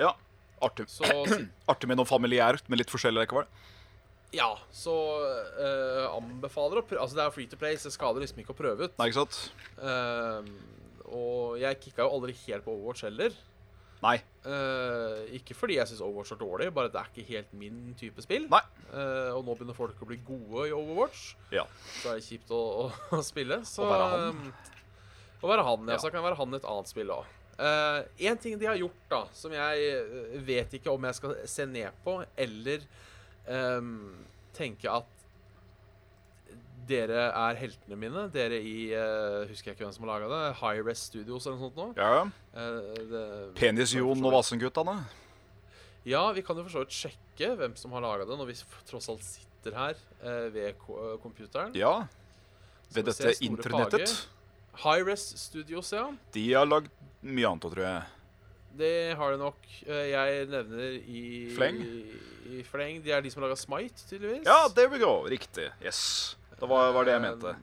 Speaker 3: Ja. Artig,
Speaker 2: Så si-
Speaker 3: artig med noe familiært, men litt forskjellig likevel.
Speaker 2: ja, så eh, anbefaler å prøve Altså, det er free to play, så det skader liksom ikke å prøve ut.
Speaker 3: Nei, ikke sant?
Speaker 2: Eh, og jeg kicka jo aldri helt på Overwatch heller.
Speaker 3: Nei.
Speaker 2: Eh, ikke fordi jeg syns Overwatch er dårlig, bare det er ikke helt min type spill.
Speaker 3: Nei.
Speaker 2: Eh, og nå begynner folk å bli gode i Overwatch,
Speaker 3: Ja.
Speaker 2: så er det kjipt å, å, å spille. Så,
Speaker 3: Å være han.
Speaker 2: eh, Å være han, ja. Så
Speaker 3: Ja.
Speaker 2: kan jeg være han i et annet spill òg. Én ting de har gjort, da, som jeg eh, vet ikke om jeg skal se ned på, eller ehm, tenke at dere er heltene mine. Dere i eh, Husker jeg ikke hvem som har laga det? High Rest Studios eller noe sånt nå?
Speaker 3: Ja, ja.
Speaker 2: Eh, det-
Speaker 3: Penis-Jon og Vassendguttene.
Speaker 2: ja, vi kan jo for så vidt sjekke hvem som har laga det, når vi f- tross alt sitter her eh, ved ko eh, computeren.
Speaker 3: Ja.
Speaker 2: Skal vi
Speaker 3: Ved
Speaker 2: se,
Speaker 3: dette
Speaker 2: store
Speaker 3: internettet.
Speaker 2: fager. Hi-Res Studios, ja.
Speaker 3: De har lagd mye annet òg, tror jeg.
Speaker 2: Det har de nok. Eh, jeg nevner i
Speaker 3: Fleng?
Speaker 2: I, i fleng. De er de som har laga Smite, tydeligvis.
Speaker 3: Ja, there we go. Riktig. Yes. Det var, var det jeg mente.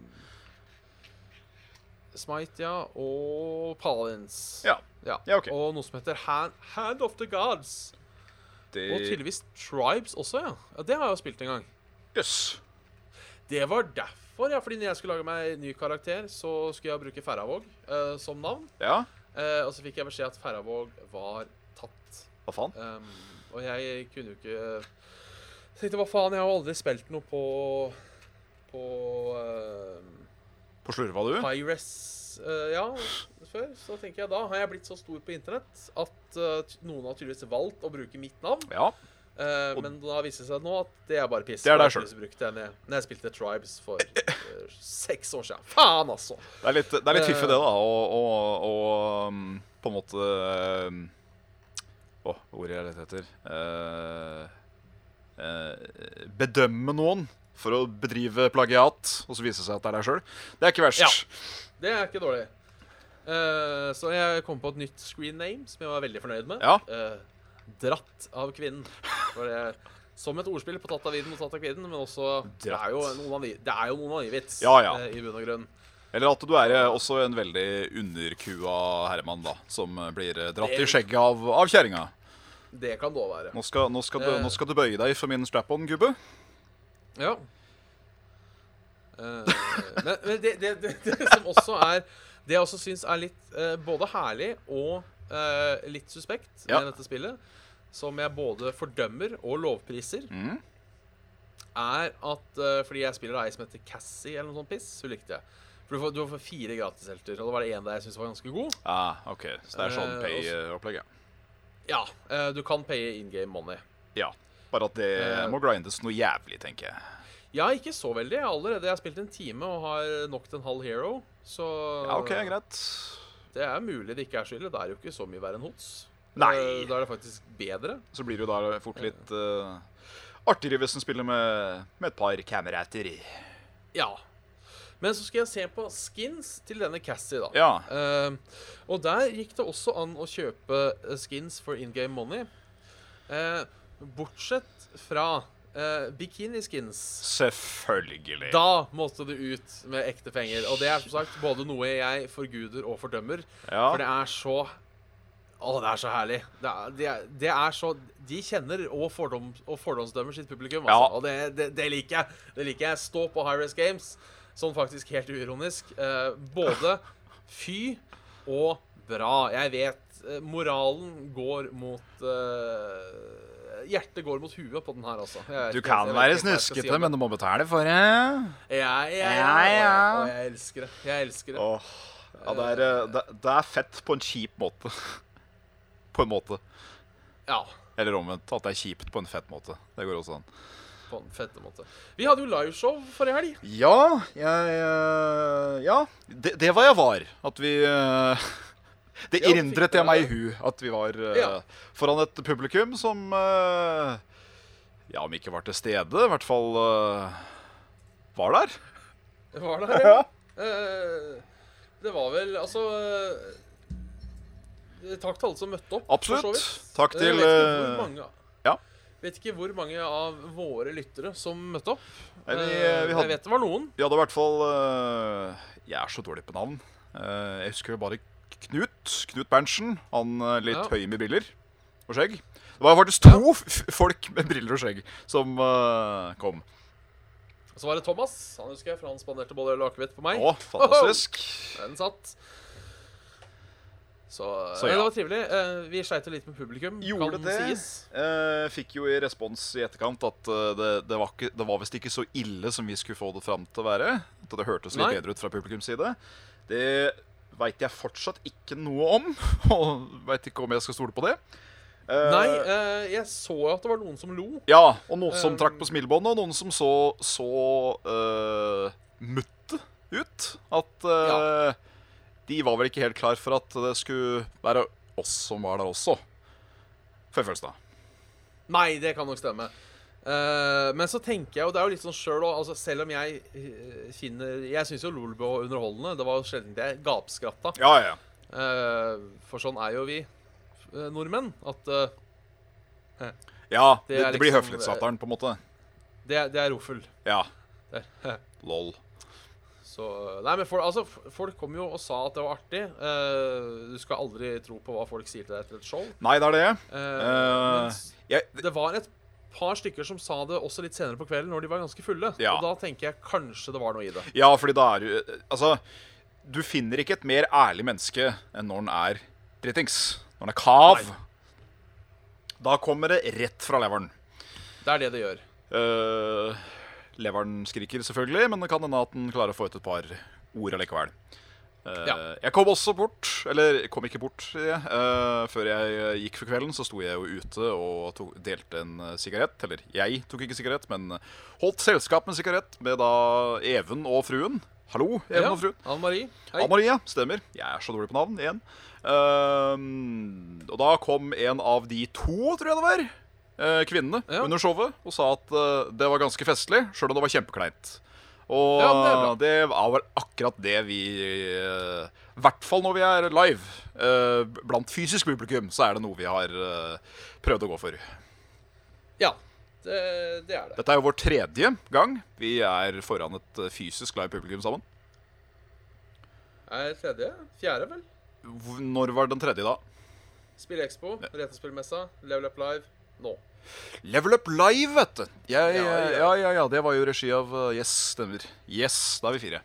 Speaker 2: Smite, ja. Og Palins.
Speaker 3: Ja. Ja, ok.
Speaker 2: Og noe som heter Hand, Hand of the Gods.
Speaker 3: Det
Speaker 2: Og tydeligvis Tribes også, ja. ja. Det har jeg jo spilt en gang.
Speaker 3: Jøss.
Speaker 2: Det var derfor, ja. Fordi når jeg skulle lage meg ny karakter, så skulle jeg bruke Ferravåg eh, som navn.
Speaker 3: Ja,
Speaker 2: Eh, og så fikk jeg beskjed at Ferravåg var tatt.
Speaker 3: hva faen?
Speaker 2: Um, og jeg kunne jo ikke Jeg tenkte hva faen, jeg har jo aldri spilt noe på På uh,
Speaker 3: På slurva, du?
Speaker 2: Pyres eh, ja, før. Så tenker jeg da har jeg blitt så stor på internett at eh, ty- noen har tydeligvis valgt å bruke mitt navn.
Speaker 3: Ja.
Speaker 2: Eh,
Speaker 3: Og-
Speaker 2: men da viser det seg nå at det er bare piss.
Speaker 3: Det er
Speaker 2: Og
Speaker 3: deg
Speaker 2: jeg
Speaker 3: selv.
Speaker 2: plutselig brukte den i- Når jeg spilte Tribes for eh, seks år siden. Faen, altså!
Speaker 3: Det er litt, det er litt
Speaker 2: Eh.
Speaker 3: fiffig, det, da. Og, og, og um, på en måte um, Å, hva ordet jeg lette etter Eh, eh, Bedømme noen for å bedrive plagiat, og så vise seg at det er deg sjøl. Det er ikke verst.
Speaker 2: Ja. Det er ikke dårlig. Eh, så jeg kom på et nytt screen name som jeg var veldig fornøyd med.
Speaker 3: Ja.
Speaker 2: Eh, dratt av kvinnen. For det, som et ordspill på tatt av viden og tatt av kvinnen, men også Det er jo noen av de, det er jo noen av de vits
Speaker 3: Ja, ja.
Speaker 2: eh, i bunn og grunn.
Speaker 3: Eller at du er eh, også en veldig underkua herremann, da. Som eh, blir eh, dratt i
Speaker 2: Det-
Speaker 3: skjegget av, av kjerringa.
Speaker 2: Det kan det òg være.
Speaker 3: Nå, skal- nå, skal du-
Speaker 2: Eh.
Speaker 3: nå skal du bøye deg for min strap-on, gubbe.
Speaker 2: Ja. Eh, men men det, det, det, det som også er Det jeg også syns er litt eh, både herlig og eh, litt suspekt
Speaker 3: Ja.
Speaker 2: med dette spillet, som jeg både fordømmer og lovpriser,
Speaker 3: Mm.
Speaker 2: er at eh, Fordi jeg spiller ei som heter Cassie eller noe sånt piss, hun likte jeg. For du får, du får fire gratishelter, og det var det ene der jeg syntes var ganske god.
Speaker 3: Ah, OK. Så det er sånn
Speaker 2: Eh,
Speaker 3: pay-opplegg, ja.
Speaker 2: Ja, eh, du kan paye in game money.
Speaker 3: Ja. Bare at det
Speaker 2: Eh.
Speaker 3: må grindes noe jævlig, tenker jeg.
Speaker 2: Ja, ikke så veldig. Jeg har Allerede jeg har spilt en time og har knocked en halv hero, så Eh.
Speaker 3: Ja, OK, greit.
Speaker 2: Det er mulig det ikke er skyld. Det er jo ikke så mye verre enn hots.
Speaker 3: Nei.
Speaker 2: Eh, Da er det faktisk bedre.
Speaker 3: Så blir det jo da fort litt eh, artigere hvis en spiller med, med et par kamerater.
Speaker 2: Ja. Men så skal jeg se på skins til denne Cassie, da.
Speaker 3: Ja.
Speaker 2: Eh, og der gikk det også an å kjøpe eh, skins for in game money. Eh, bortsett fra eh, bikiniskins.
Speaker 3: Selvfølgelig.
Speaker 2: Da måtte det ut med ekte penger. Og det er som sagt både noe jeg forguder og fordømmer.
Speaker 3: Ja.
Speaker 2: For det er så Å, det er så herlig. Det er, det er, det er så De kjenner og, fordom, og fordomsdømmer sitt publikum. Altså.
Speaker 3: Ja.
Speaker 2: Og det, det, det liker jeg. Det liker jeg. Stå på High Race Games, sånn faktisk helt uironisk. Eh, både fy og bra. Jeg vet eh, moralen går mot eh, Hjertet går mot huet på den her, altså. Jeg vet
Speaker 3: Du
Speaker 2: ikke-
Speaker 3: kan
Speaker 2: jeg vet ikke helt hva
Speaker 3: være
Speaker 2: jeg skal si om
Speaker 3: snuskete,
Speaker 2: det.
Speaker 3: men du må betale for det.
Speaker 2: Ja, ja, ja.
Speaker 3: Ja, ja.
Speaker 2: Og jeg, og jeg elsker det. Jeg elsker det.
Speaker 3: Åh, ja, det er, eh, det, det er fett på en kjip måte. På en måte.
Speaker 2: Ja.
Speaker 3: Eller omvendt. At det er kjipt på en fett måte. Det går også an.
Speaker 2: På en fette måte. Vi hadde jo liveshow forrige helg.
Speaker 3: Ja, jeg eh, Ja, det, det var jeg var. At vi eh, Det
Speaker 2: Ja, fikk
Speaker 3: erindret
Speaker 2: dere
Speaker 3: jeg meg i
Speaker 2: det?
Speaker 3: hu at vi var eh,
Speaker 2: Ja.
Speaker 3: foran et publikum som eh, Ja, om ikke var til stede, i hvert fall eh, var der.
Speaker 2: Det var det, ja. Eh, det var vel Altså eh, Takk til alle som møtte opp. for så
Speaker 3: Absolutt.
Speaker 2: vidt.
Speaker 3: Takk
Speaker 2: Eh,
Speaker 3: til
Speaker 2: vet ikke hvor
Speaker 3: eh,
Speaker 2: mange,
Speaker 3: ja.
Speaker 2: Vet ikke hvor mange av våre lyttere som møtte opp.
Speaker 3: Nei, vi,
Speaker 2: Eh,
Speaker 3: vi
Speaker 2: Jeg
Speaker 3: hadde,
Speaker 2: vet det var noen.
Speaker 3: vi hadde i hvert fall eh, Jeg er så dårlig på navn. Eh, jeg husker bare Knut. Knut Berntsen. Han eh, litt
Speaker 2: Ja.
Speaker 3: høy med briller og skjegg. Det var faktisk to f- folk med briller og skjegg som eh, kom.
Speaker 2: Og så var det Thomas. Han husker jeg, for han spanderte både øl og akevitt på meg.
Speaker 3: Å, fantastisk.
Speaker 2: Den satt. Så,
Speaker 3: Så
Speaker 2: nei,
Speaker 3: ja.
Speaker 2: det var trivelig. Eh, vi sleit jo litt med publikum.
Speaker 3: Gjorde
Speaker 2: kan
Speaker 3: det.
Speaker 2: sies.
Speaker 3: Eh, fikk jo i respons i etterkant at eh, det, det var, ikke- det var visst ikke så ille som vi skulle få det fram til å være. At det hørtes litt
Speaker 2: Nei.
Speaker 3: bedre ut fra publikums side. Det veit jeg fortsatt ikke noe om, og veit ikke om jeg skal stole på det. Eh,
Speaker 2: Nei, eh, jeg så jo at det var noen som lo.
Speaker 3: Ja, og noen som
Speaker 2: Eh,
Speaker 3: trakk på smilebåndet, og noen som så så eh, mutte ut. At eh, de var vel ikke helt klar for at det skulle være oss som var der også. Får jeg følelsen av.
Speaker 2: Nei, det kan nok stemme. Eh, men så tenker jeg jo, det er jo litt sånn sjøl òg altså, Selv om jeg eh, finner Jeg syns jo Lolbo var underholdende. Det var jo sjelden jeg gapskratta.
Speaker 3: Ja, ja, ja.
Speaker 2: Eh, for sånn er jo vi eh, nordmenn. At eh,
Speaker 3: Ja,
Speaker 2: Det
Speaker 3: det,
Speaker 2: er
Speaker 3: det blir
Speaker 2: liksom-
Speaker 3: høflighetssateren, på en måte.
Speaker 2: det, det er roffel.
Speaker 3: Ja.
Speaker 2: Der.
Speaker 3: Lol.
Speaker 2: Så, nei, men for, altså, f- Folk kom jo og sa at det var artig. Eh, du skal aldri tro på hva folk sier til deg etter et show.
Speaker 3: Nei, det er det.
Speaker 2: Eh,
Speaker 3: Eh,
Speaker 2: men s-
Speaker 3: Jeg,
Speaker 2: det var et par stykker som sa det også litt senere på kvelden, når de var ganske fulle.
Speaker 3: Ja.
Speaker 2: Og da tenker jeg kanskje det var noe i det.
Speaker 3: ja, fordi da er du Altså, du finner ikke et mer ærlig menneske enn når han er dritings. Når han er kav. Da kommer det rett fra leveren.
Speaker 2: Det er det det gjør.
Speaker 3: Eh, leveren skriker selvfølgelig, men det kan hende at den klarer å få ut et par ord allikevel. Eh,
Speaker 2: Ja.
Speaker 3: Jeg kom også bort, eller jeg kom ikke bort, sier jeg. Eh, før jeg eh, gikk for kvelden, så sto jeg jo ute og tok, delte en eh, sigarett. Eller jeg tok ikke sigarett, men holdt selskap med sigarett med da Even og fruen. Hallo, Even
Speaker 2: Ja,
Speaker 3: og fruen.
Speaker 2: Anne Marie. Hei.
Speaker 3: Anna Maria, stemmer. Jeg er så dårlig på navn, igjen. Ehm, og da kom en av de to, tror jeg det var, eh, kvinnene
Speaker 2: Ja.
Speaker 3: under showet og sa at eh, det var ganske festlig, sjøl om det var kjempekleint. Og
Speaker 2: Ja,
Speaker 3: det, var vel akkurat det vi eh, I hvert fall når vi er live. eh, blant fysisk publikum så er det noe vi har eh, prøvd å gå for.
Speaker 2: Ja, det, det er det.
Speaker 3: Dette er jo vår tredje gang vi er foran et eh, fysisk live publikum sammen.
Speaker 2: Er tredje? Fjerde, vel?
Speaker 3: Hvor- Når var den tredje, da?
Speaker 2: Spill Expo, Retrospillmessa, Level Up Live. Nå.
Speaker 3: Level Up Live, vet du. Jeg,
Speaker 2: Ja,
Speaker 3: ja,
Speaker 2: ja.
Speaker 3: ja, ja, det var jo regi av uh, Yes, stemmer. Yes, da er vi fire.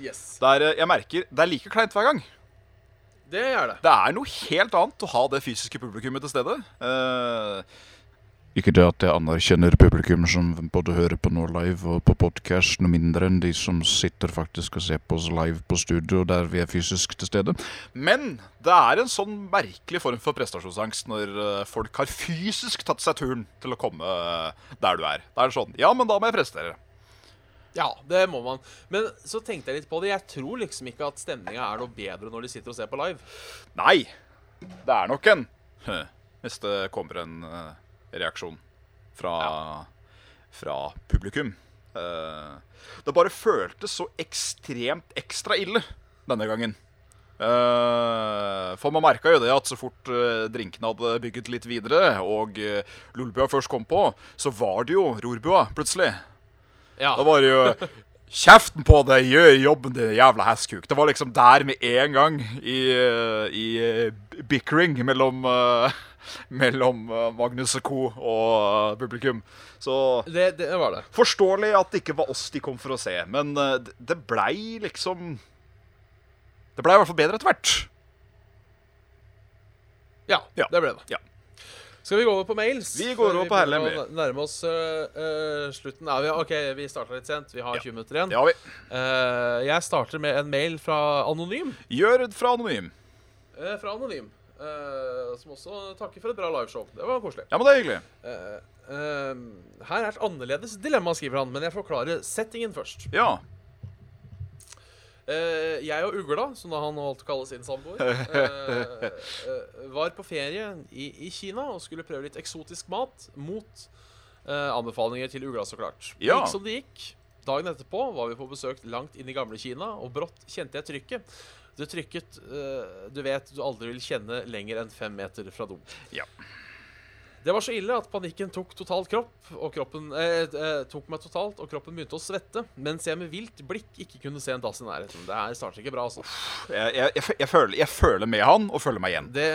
Speaker 2: Yes.
Speaker 3: Det er, uh, jeg merker, det er like kleint hver gang.
Speaker 2: Det er det.
Speaker 3: Det er noe helt annet å ha det fysiske publikummet til stede. Eh,
Speaker 4: Ikke det at jeg anerkjenner publikum som både hører på nå live og på podkast, noe mindre enn de som sitter faktisk og ser på oss live på studio der vi er fysisk til stede.
Speaker 3: men det er en sånn merkelig form for prestasjonsangst når uh, folk har fysisk tatt seg turen til å komme uh, der du er. Det er sånn, ja, men da må jeg prestere.
Speaker 2: Ja, det må man. Men så tenkte jeg litt på det. Jeg tror liksom ikke at stemninga er noe bedre når de sitter og ser på live.
Speaker 3: Nei, det er nok en. Hø, Hvis det kommer en eh, reaksjon fra, fra publikum. Eh, det bare føltes så ekstremt ekstra ille denne gangen. Eh, for man merka jo det at så fort eh, drinkene hadde bygget litt videre, og uh, Lolbua først kom på, så var det jo rorbua plutselig.
Speaker 2: Ja.
Speaker 3: Da var det jo Kjeften på deg, gjør jobben din, jævla hestkuk. Det var liksom der med en gang i, eh, i eh, bickering mellom, eh, mellom eh, Magnus og co. og eh, publikum. Så
Speaker 2: Det, det var det.
Speaker 3: forståelig at det ikke var oss de kom for å se, men eh, det- det blei liksom Det blei i hvert fall bedre etter hvert.
Speaker 2: Ja,
Speaker 3: Ja.
Speaker 2: det ble det.
Speaker 3: Ja.
Speaker 2: Skal vi gå over på mails?
Speaker 3: Vi går
Speaker 2: Før
Speaker 3: over på
Speaker 2: begynner
Speaker 3: Herlem,
Speaker 2: å Nærme oss øh, øh, slutten. Er vi, OK, vi starta litt sent. Vi har
Speaker 3: Ja.
Speaker 2: 20 minutter igjen.
Speaker 3: Det har vi.
Speaker 2: Eh, jeg starter med en mail fra Anonym.
Speaker 3: Gjør fra anonym.
Speaker 2: Eh, fra Anonym. Eh, eh, som også takker for et bra liveshow. Det var koselig.
Speaker 3: Ja, men det er hyggelig.
Speaker 2: Eh, eh, her er et annerledes dilemma, skriver han, men jeg forklarer settingen først.
Speaker 3: Ja.
Speaker 2: Eh, jeg og ugla, som da han holdt kalle sin samboer, eh, eh, var på ferie i, i Kina og skulle prøve litt eksotisk mat mot eh, anbefalinger til ugla, så klart. Det
Speaker 3: Ja.
Speaker 2: Gikk som det gikk. Dagen etterpå var vi på besøk langt inn i gamle Kina, og brått kjente jeg trykket. Det trykket eh, du vet du aldri vil kjenne lenger enn fem meter fra do.
Speaker 3: Ja.
Speaker 2: Det var så ille at panikken tok totalt kropp, og kroppen eh, eh, tok meg totalt, og kroppen begynte å svette, mens jeg med vilt blikk ikke kunne se en dass i nærheten. Det her starter ikke bra, altså.
Speaker 3: Jeg, jeg, jeg, fø- jeg, føler, jeg føler med han, og føler meg igjen.
Speaker 2: Det,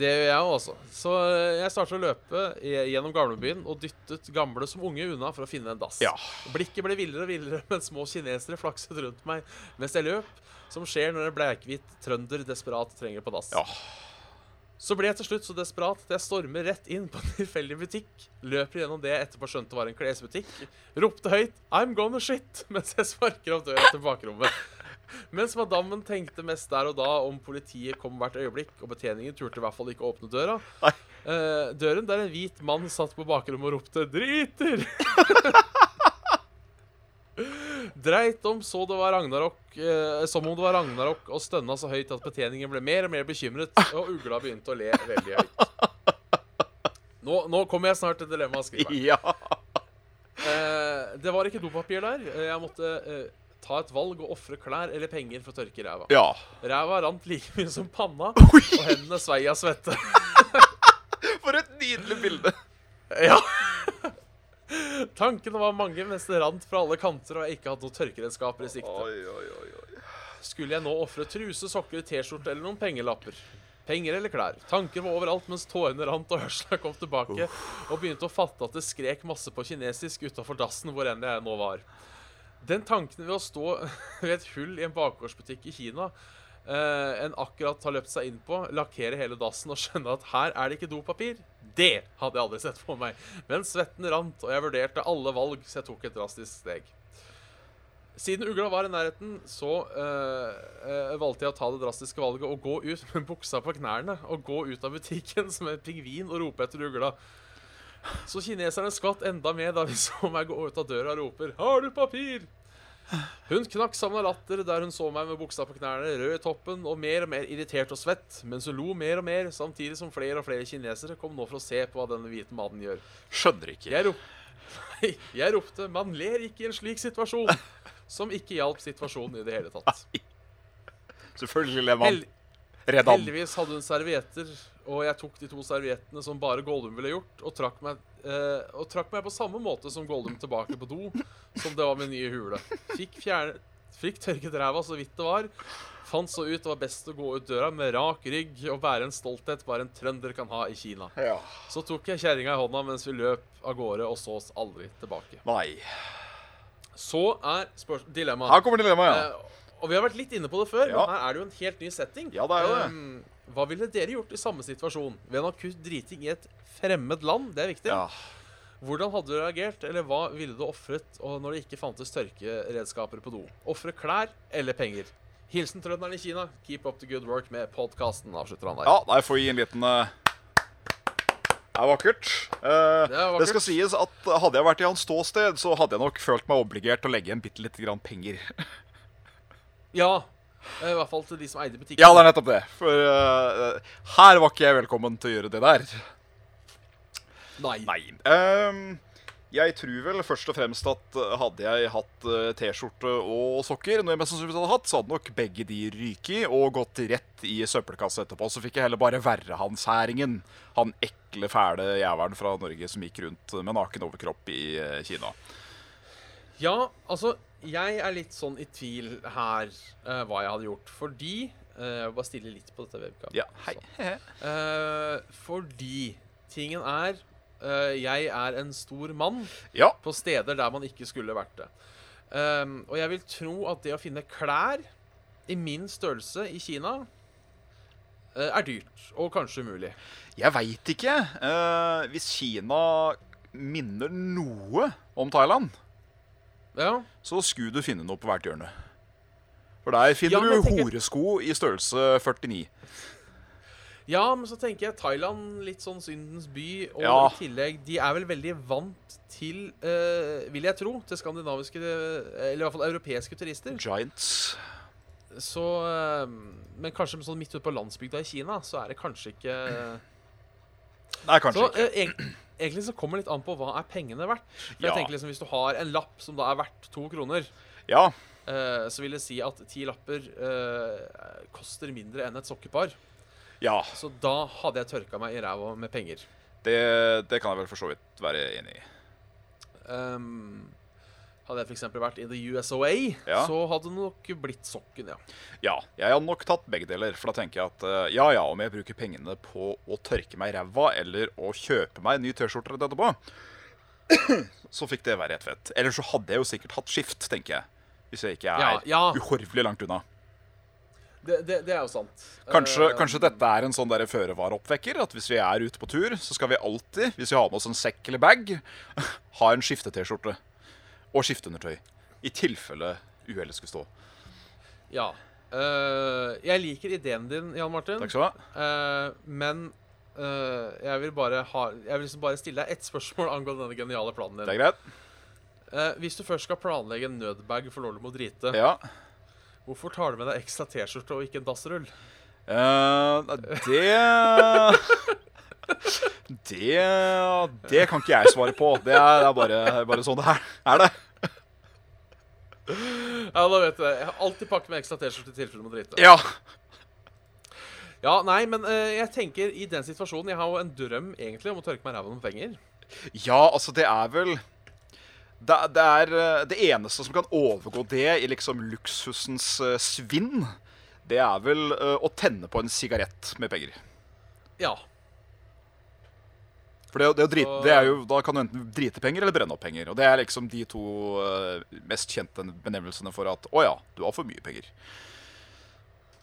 Speaker 2: det gjør jeg også. Så eh, jeg startet å løpe i- gjennom gamlebyen og dyttet gamle som unge unna for å finne en dass.
Speaker 3: Ja.
Speaker 2: Blikket ble villere og villere mens små kinesere flakset rundt meg mens jeg løp, som skjer når en blekhvit trønder desperat trenger på dass.
Speaker 3: Ja.
Speaker 2: Så ble jeg til slutt så desperat at jeg stormer rett inn på en tilfeldig butikk, løper gjennom det jeg etterpå skjønte var en klesbutikk, ropte høyt 'I'm gonna shit' mens jeg sparker opp døra til bakrommet. Mens madammen tenkte mest der og da om politiet kom hvert øyeblikk, og betjeningen turte i hvert fall ikke å åpne døra.
Speaker 3: Nei.
Speaker 2: Eh, døren der en hvit mann satt på bakrommet og ropte 'driter'. Dreit om så det var Ragnarok, eh, som om det var Ragnarok, og stønna så høyt at betjeningen ble mer og mer bekymret, og ugla begynte å le veldig høyt. Nå, nå kommer jeg snart til dilemmaet, skriver han.
Speaker 3: Ja.
Speaker 2: Eh, det var ikke dopapir der. Eh, Jeg måtte eh, ta et valg og ofre klær eller penger for å tørke ræva.
Speaker 3: ja.
Speaker 2: Ræva rant like mye som panna,
Speaker 3: Oi,
Speaker 2: og hendene svei av svette.
Speaker 3: for et nydelig bilde.
Speaker 2: Ja. Tankene var mange mens det rant fra alle kanter og jeg ikke hadde noen tørkeredskaper i sikte.
Speaker 3: oi, oi, oi.
Speaker 2: Skulle jeg nå ofre truse, sokker, T-skjorte eller noen pengelapper? Penger eller klær? Tanker var overalt mens tårene rant og hørselen kom tilbake, og begynte å fatte at det skrek masse på kinesisk utafor dassen hvor enn jeg nå var. Den tanken ved å stå ved et hull i en bakgårdsbutikk i Kina eh, en akkurat har løpt seg inn på, lakkere hele dassen og skjønne at her er det ikke dopapir, det hadde jeg aldri sett for meg. Men svetten rant, og jeg vurderte alle valg, så jeg tok et drastisk steg. Siden ugla var i nærheten, så eh, eh, valgte jeg å ta det drastiske valget og gå ut med buksa på knærne og gå ut av butikken som en pingvin og rope etter ugla. Så kineserne skvatt enda mer da de så meg gå ut av døra og roper 'Har du papir?' Hun knakk sammen av latter der hun så meg med buksa på knærne, rød i toppen og mer og mer irritert og svett, mens hun lo mer og mer, samtidig som flere og flere kinesere kom nå for å se på hva denne hvite mannen gjør.
Speaker 3: Skjønner ikke.
Speaker 2: Jeg, rop... Nei, jeg ropte 'Man ler ikke i en slik situasjon', som ikke hjalp situasjonen i det hele tatt.
Speaker 3: Selvfølgelig lever han.
Speaker 2: Hel
Speaker 3: Redd han.
Speaker 2: heldigvis hadde hun servietter, og jeg tok de to serviettene som bare Goldum ville gjort, og trakk meg, eh, og trakk meg på samme måte som Goldum tilbake på do, som det var min nye hule. Fikk, fjerne, fikk tørket ræva så vidt det var. Fant så ut det var best å gå ut døra med rak rygg og bære en stolthet bare en trønder kan ha i Kina.
Speaker 3: Ja.
Speaker 2: Så tok jeg kjerringa i hånda mens vi løp av gårde og så oss aldri tilbake.
Speaker 3: Nei.
Speaker 2: Så er spørs- dilemmaet.
Speaker 3: Her kommer dilemmaet, ja.
Speaker 2: Eh, og vi har vært litt inne på det før,
Speaker 3: Ja.
Speaker 2: men her er det jo en helt ny setting.
Speaker 3: Ja, det er jo det.
Speaker 2: Um, hva ville dere gjort i samme situasjon? Ved en akutt driting i et fremmed land, det er viktig.
Speaker 3: ja.
Speaker 2: Hvordan hadde du reagert, eller hva ville du ofret og når det ikke fantes tørkeredskaper på do? Ofre klær eller penger? Hilsen trønderen i Kina. Keep up the good work med podkasten, avslutter han der.
Speaker 3: Ja, der får vi gi en liten eh, Det er vakkert. Eh,
Speaker 2: Det er vakkert.
Speaker 3: Det skal sies at hadde jeg vært i hans ståsted, så hadde jeg nok følt meg obligert til å legge igjen bitte lite grann penger.
Speaker 2: Ja, eh, I hvert fall til de som eide butikken.
Speaker 3: Ja, det er nettopp det. For eh, her var ikke jeg velkommen til å gjøre det der.
Speaker 2: Nei.
Speaker 3: Nei. Ehm, jeg tror vel først og fremst at eh, hadde jeg hatt eh, T-skjorte og sokker, noe jeg mest sannsynligvis hadde hatt, så hadde nok begge de ryket i og gått rett i søppelkassa etterpå. Så fikk jeg heller bare verre han særingen. Han ekle, fæle jævelen fra Norge som gikk rundt med naken overkropp i eh, Kina.
Speaker 2: Ja, altså, jeg er litt sånn i tvil her eh, hva jeg hadde gjort. Fordi eh, Jeg vil bare stille litt på dette webkamet.
Speaker 3: Ja, hei.
Speaker 2: så. Eh, fordi tingen er eh, Jeg er en stor mann
Speaker 3: Ja.
Speaker 2: på steder der man ikke skulle vært det. Ehm, og jeg vil tro at det å finne klær i min størrelse i Kina eh, er dyrt, og kanskje umulig.
Speaker 3: Jeg veit ikke. eh, hvis Kina minner noe om Thailand,
Speaker 2: Ja,
Speaker 3: så skulle du finne noe på hvert hjørne. For der
Speaker 2: Ja,
Speaker 3: finner
Speaker 2: men
Speaker 3: du
Speaker 2: jeg tenker-
Speaker 3: horesko i størrelse 49.
Speaker 2: Ja, men så tenker jeg Thailand, litt sånn syndens by. Og
Speaker 3: Ja.
Speaker 2: i tillegg, de er vel veldig vant til, eh, vil jeg tro, til skandinaviske eh, Eller i hvert fall europeiske turister.
Speaker 3: Giants.
Speaker 2: Så eh, Men kanskje sånn midt ute på landsbygda i Kina, så er det kanskje ikke
Speaker 3: Nei, kanskje
Speaker 2: Så
Speaker 3: ikke.
Speaker 2: eh, eg- egentlig så kommer det litt an på hva er pengene verdt. For
Speaker 3: Ja.
Speaker 2: jeg tenker liksom Hvis du har en lapp som da er verdt to kroner,
Speaker 3: Ja,
Speaker 2: eh, så vil det si at ti lapper eh, koster mindre enn et sokkepar.
Speaker 3: ja
Speaker 2: Så da hadde jeg tørka meg i ræva med penger.
Speaker 3: det, det kan jeg vel for så vidt være enig i.
Speaker 2: Ehm, hadde jeg f.eks. vært i the USOA,
Speaker 3: Ja.
Speaker 2: så hadde det nok blitt sokken, ja.
Speaker 3: Ja, jeg hadde nok tatt begge deler. For da tenker jeg at eh, ja ja, om jeg bruker pengene på å tørke meg i ræva eller å kjøpe meg en ny T-skjorte rett etterpå, så fikk det være helt fett. Eller så hadde jeg jo sikkert hatt skift, tenker jeg. Hvis jeg ikke er
Speaker 2: Ja, ja.
Speaker 3: uhorvelig langt unna.
Speaker 2: Det, det, det er jo sant.
Speaker 3: Kanskje,
Speaker 2: Ehm,
Speaker 3: kanskje dette er en sånn der føre-var-oppvekker? At hvis vi er ute på tur, så skal vi alltid, hvis vi har med oss en sekk eller bag, ha en skifte-T-skjorte. Og skifteundertøy. I tilfelle uhellet skulle stå.
Speaker 2: Ja. Eh, jeg liker ideen din, Jan Martin,
Speaker 3: Takk skal du ha.
Speaker 2: Eh, men eh, jeg vil bare ha Jeg vil liksom bare stille deg ett spørsmål angående denne geniale planen
Speaker 3: Det
Speaker 2: din.
Speaker 3: er greit?
Speaker 2: Eh, hvis du først skal planlegge en nødbag for Lollo må drite,
Speaker 3: Ja.
Speaker 2: hvorfor tar du med deg ekstra T-skjorte og ikke en dassrull?
Speaker 3: Eh, det Det Det kan ikke jeg svare på. Det er, det er bare, bare sånn det er. er det.
Speaker 2: Ja, da vet jeg. Jeg har alltid pakket med ekstra T-skjorte i tilfelle du må drite.
Speaker 3: Ja.
Speaker 2: Ja, nei, men eh, jeg tenker i den situasjonen Jeg har jo en drøm egentlig om å tørke meg ræva med penger.
Speaker 3: ja, altså, det er vel det, det er eh, det eneste som kan overgå det i liksom luksusens eh, svinn, det er vel eh, å tenne på en sigarett med penger.
Speaker 2: Ja.
Speaker 3: For det, det å drite, det er jo, Da kan du enten drite penger eller brenne opp penger. Og det er liksom de to eh, mest kjente benevnelsene for at å ja, du har for mye penger.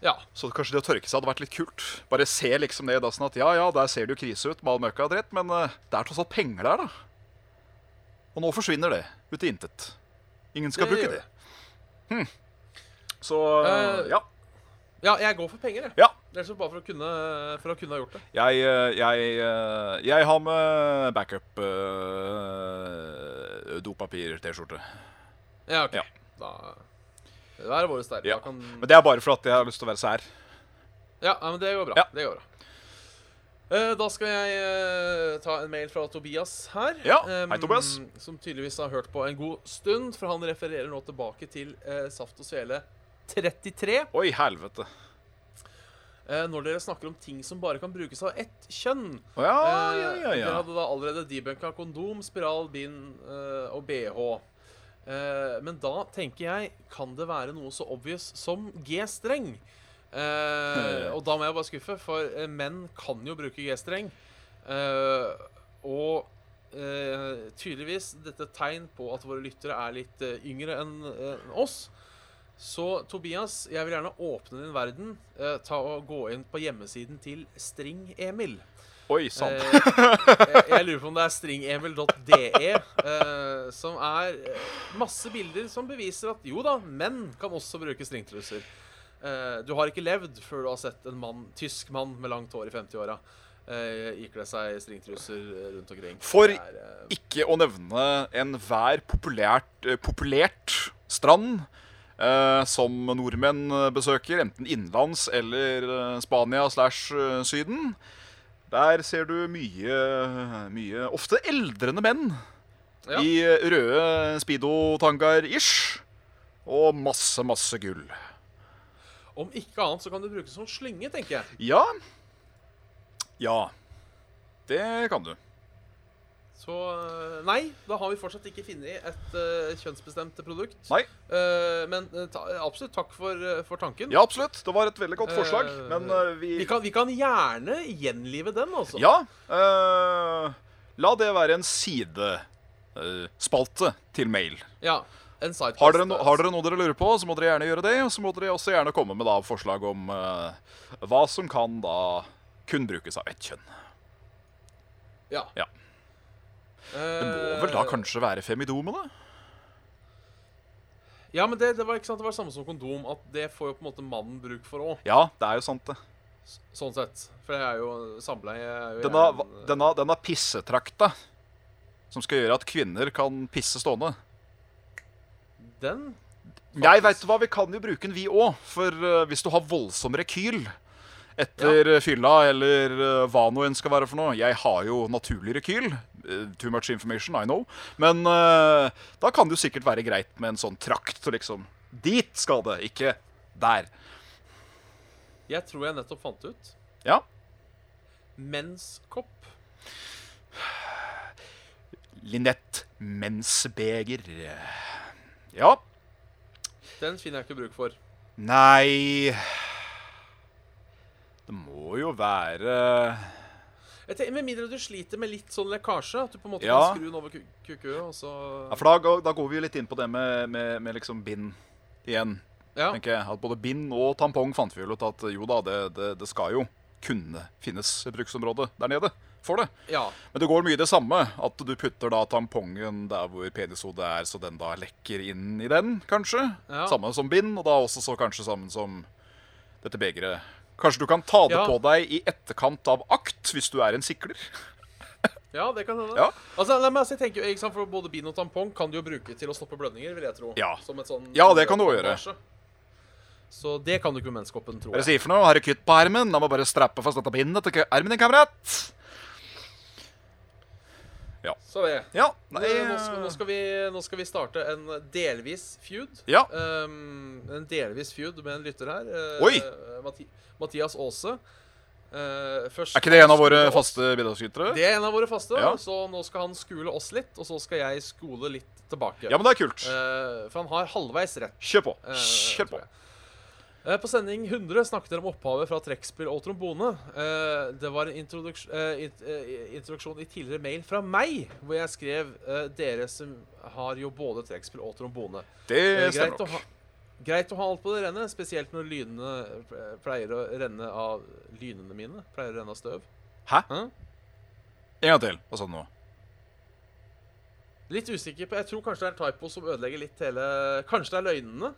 Speaker 2: Ja.
Speaker 3: Så kanskje det å tørke seg hadde vært litt kult. Bare se liksom ned i dassen at ja, ja, der ser det jo krise ut, mal møkka har rett, men eh, det er tross alt penger der, da. Og nå forsvinner det ut i intet. Ingen skal
Speaker 2: Det
Speaker 3: bruke
Speaker 2: gjør
Speaker 3: det. Hm. Så
Speaker 2: Eh,
Speaker 3: ja.
Speaker 2: Ja, jeg går for penger, jeg.
Speaker 3: Ja.
Speaker 2: Ellers så bare for å kunne, for å kunne ha gjort det.
Speaker 3: Jeg, eh, jeg, eh, jeg har med backup eh,
Speaker 2: Mm.
Speaker 3: dopapir-T-skjorte.
Speaker 2: Ja, ok.
Speaker 3: Ja.
Speaker 2: Da Det der er våre sterke.
Speaker 3: Ja.
Speaker 2: Da kan
Speaker 3: Men det er bare for at jeg har lyst til å være sær.
Speaker 2: Ja, ja, men det går bra.
Speaker 3: Ja.
Speaker 2: Det går bra. Eh, da skal jeg eh, ta en mail fra Tobias her.
Speaker 3: Ja,
Speaker 2: Em,
Speaker 3: hei, Tobias.
Speaker 2: Som tydeligvis har hørt på en god stund, for han refererer nå tilbake til eh, Saft og Svele 33.
Speaker 3: Oi, helvete.
Speaker 2: eh, når dere snakker om ting som bare kan brukes av ett kjønn.
Speaker 3: Å ja,
Speaker 2: Eh,
Speaker 3: ja, ja.
Speaker 2: Dere
Speaker 3: ja.
Speaker 2: hadde da allerede debunka kondom, spiral, bind eh, og bh. Eh, men da tenker jeg kan det være noe så obvious som G-streng. Eh, og da må jeg bare skuffe, for eh, menn kan jo bruke G-streng. Eh, og eh, tydeligvis dette tegn på at våre lyttere er litt eh, yngre enn eh, oss. Så Tobias, jeg vil gjerne åpne din verden. Eh, ta og Gå inn på hjemmesiden til String-Emil.
Speaker 3: Oi sann.
Speaker 2: Eh, jeg, jeg lurer på om det er stringemil.de, eh, som er eh, masse bilder som beviser at jo da, menn kan også bruke stringtruser. Eh, du har ikke levd før du har sett en mann, tysk mann med langt hår i 50-åra eh, ikle seg stringtruser eh, rundt omkring.
Speaker 3: For
Speaker 2: Det er, eh,
Speaker 3: ikke å nevne enhver populært, eh, populert strand eh, som nordmenn eh, besøker, enten innenlands eller eh, Spania slash eh, Syden. Der ser du mye, mye ofte eldrende menn
Speaker 2: Ja.
Speaker 3: i eh, røde speedo-tangaer ish. Og masse, masse gull.
Speaker 2: om ikke annet så kan det brukes som slynge, tenker jeg.
Speaker 3: Ja. Ja. Det kan du.
Speaker 2: Så eh, nei, da har vi fortsatt ikke funnet et eh, kjønnsbestemt produkt.
Speaker 3: Nei.
Speaker 2: Eh, men eh, ta, absolutt takk for, eh, for tanken.
Speaker 3: Ja, absolutt. Det var et veldig godt forslag,
Speaker 2: Eh,
Speaker 3: men eh, vi
Speaker 2: Vi kan, vi kan gjerne gjenlive den, altså.
Speaker 3: Ja. eh, la det være en sidespalte til mail.
Speaker 2: Ja, en sidequest.
Speaker 3: Har dere, no har dere noe dere lurer på, så må dere gjerne gjøre det. Og så må dere også gjerne komme med da forslag om eh, hva som kan da kun brukes av ett kjønn.
Speaker 2: Ja. Eh,
Speaker 3: Ja. Det må vel da kanskje være femidomene?
Speaker 2: Ja, men det, det var ikke sant, det var det samme som kondom, at det får jo på en måte mannen bruk for òg.
Speaker 3: Ja, det er jo sant, det.
Speaker 2: S- Sånn sett. For jeg er jo samleie er jo
Speaker 3: Denne,
Speaker 2: en-
Speaker 3: denne, denne pissetrakta som skal gjøre at kvinner kan pisse stående.
Speaker 2: Den?
Speaker 3: Jeg vet hva, Vi kan jo bruke den, vi òg. For eh, hvis du har voldsom rekyl etter eh, fylla eller eh, hva nå enn skal være for noe Jeg har jo naturlig rekyl. Eh, too much information, I know. Men eh, da kan det jo sikkert være greit med en sånn trakt. liksom. Dit skal det, ikke der.
Speaker 2: Jeg tror jeg nettopp fant ut.
Speaker 3: Ja.
Speaker 2: Menskopp.
Speaker 3: Linette Mensbeger. Ja.
Speaker 2: Den finner jeg ikke bruk for.
Speaker 3: Nei Det må jo være
Speaker 2: Jeg tenker, Med mindre du sliter med litt sånn lekkasje, at du på en måte
Speaker 3: Ja.
Speaker 2: kan skru den over ku- kukuet, og så
Speaker 3: Ja, for da, ga- da går vi jo litt inn på det med, med, med liksom bind igjen.
Speaker 2: Ja.
Speaker 3: tenker jeg. At både bind og tampong fant vi jo ut at jo da, det, det, det skal jo kunne finnes et bruksområde der nede for det.
Speaker 2: ja.
Speaker 3: Men det går mye i det samme. At du putter da tampongen der hvor penishodet er, så den da lekker inn i den, kanskje.
Speaker 2: Ja.
Speaker 3: Samme som bind, og da også så kanskje sammen som dette begeret. Kanskje du kan ta det
Speaker 2: Ja.
Speaker 3: på deg i etterkant av akt, hvis du er en sikler.
Speaker 2: Ja, det kan hende.
Speaker 3: Ja.
Speaker 2: Altså, nei, men altså, jeg tenker jo, ikke sant, for Både bind og tampong kan du jo bruke til å stoppe blødninger, vil jeg tro.
Speaker 3: Ja.
Speaker 2: Som et sånn
Speaker 3: Ja, det kan du også gjøre.
Speaker 2: bandasje. Så det kan du ikke med menskoppen, tror
Speaker 3: Hva er det
Speaker 2: jeg.
Speaker 3: jeg sier for noe? Har du kutt på armen? La meg bare strappe fast dette bindet til kø- armen din, kamerat.
Speaker 2: Så det.
Speaker 3: Ja, nei
Speaker 2: Nå skal, nå, skal vi, nå skal vi starte en delvis feud.
Speaker 3: Ja.
Speaker 2: Ehm, en delvis feud med en lytter her. Eh,
Speaker 3: Oi!
Speaker 2: Mathi Mathias Aase. Eh, først-
Speaker 3: Er ikke det en av våre
Speaker 2: skole oss-
Speaker 3: faste bidragsytere?
Speaker 2: Det er en av våre faste.
Speaker 3: Ja.
Speaker 2: Så nå skal han skule oss litt, og så skal jeg skole litt tilbake.
Speaker 3: Ja, men det er kult.
Speaker 2: Eh, for han har halvveis rett.
Speaker 3: Kjør på.
Speaker 2: Eh,
Speaker 3: Kjør
Speaker 2: tror
Speaker 3: på.
Speaker 2: jeg. Eh, På sending 100 snakket dere om opphavet fra trekkspill og trombone. Eh, Det var en introduks- eh, int- eh, introduksjon i tidligere mail fra meg, hvor jeg skrev eh, dere som har jo både trekkspill og trombone.
Speaker 3: Det
Speaker 2: Eh,
Speaker 3: stemmer
Speaker 2: å ha,
Speaker 3: nok.
Speaker 2: greit å ha alt på det rene, spesielt når lynene eh, pleier å renne av Lynene mine pleier å renne av støv.
Speaker 3: En gang til. Hva sa du nå?
Speaker 2: Litt usikker på Jeg tror kanskje det er typo som ødelegger litt hele Kanskje det er løgnene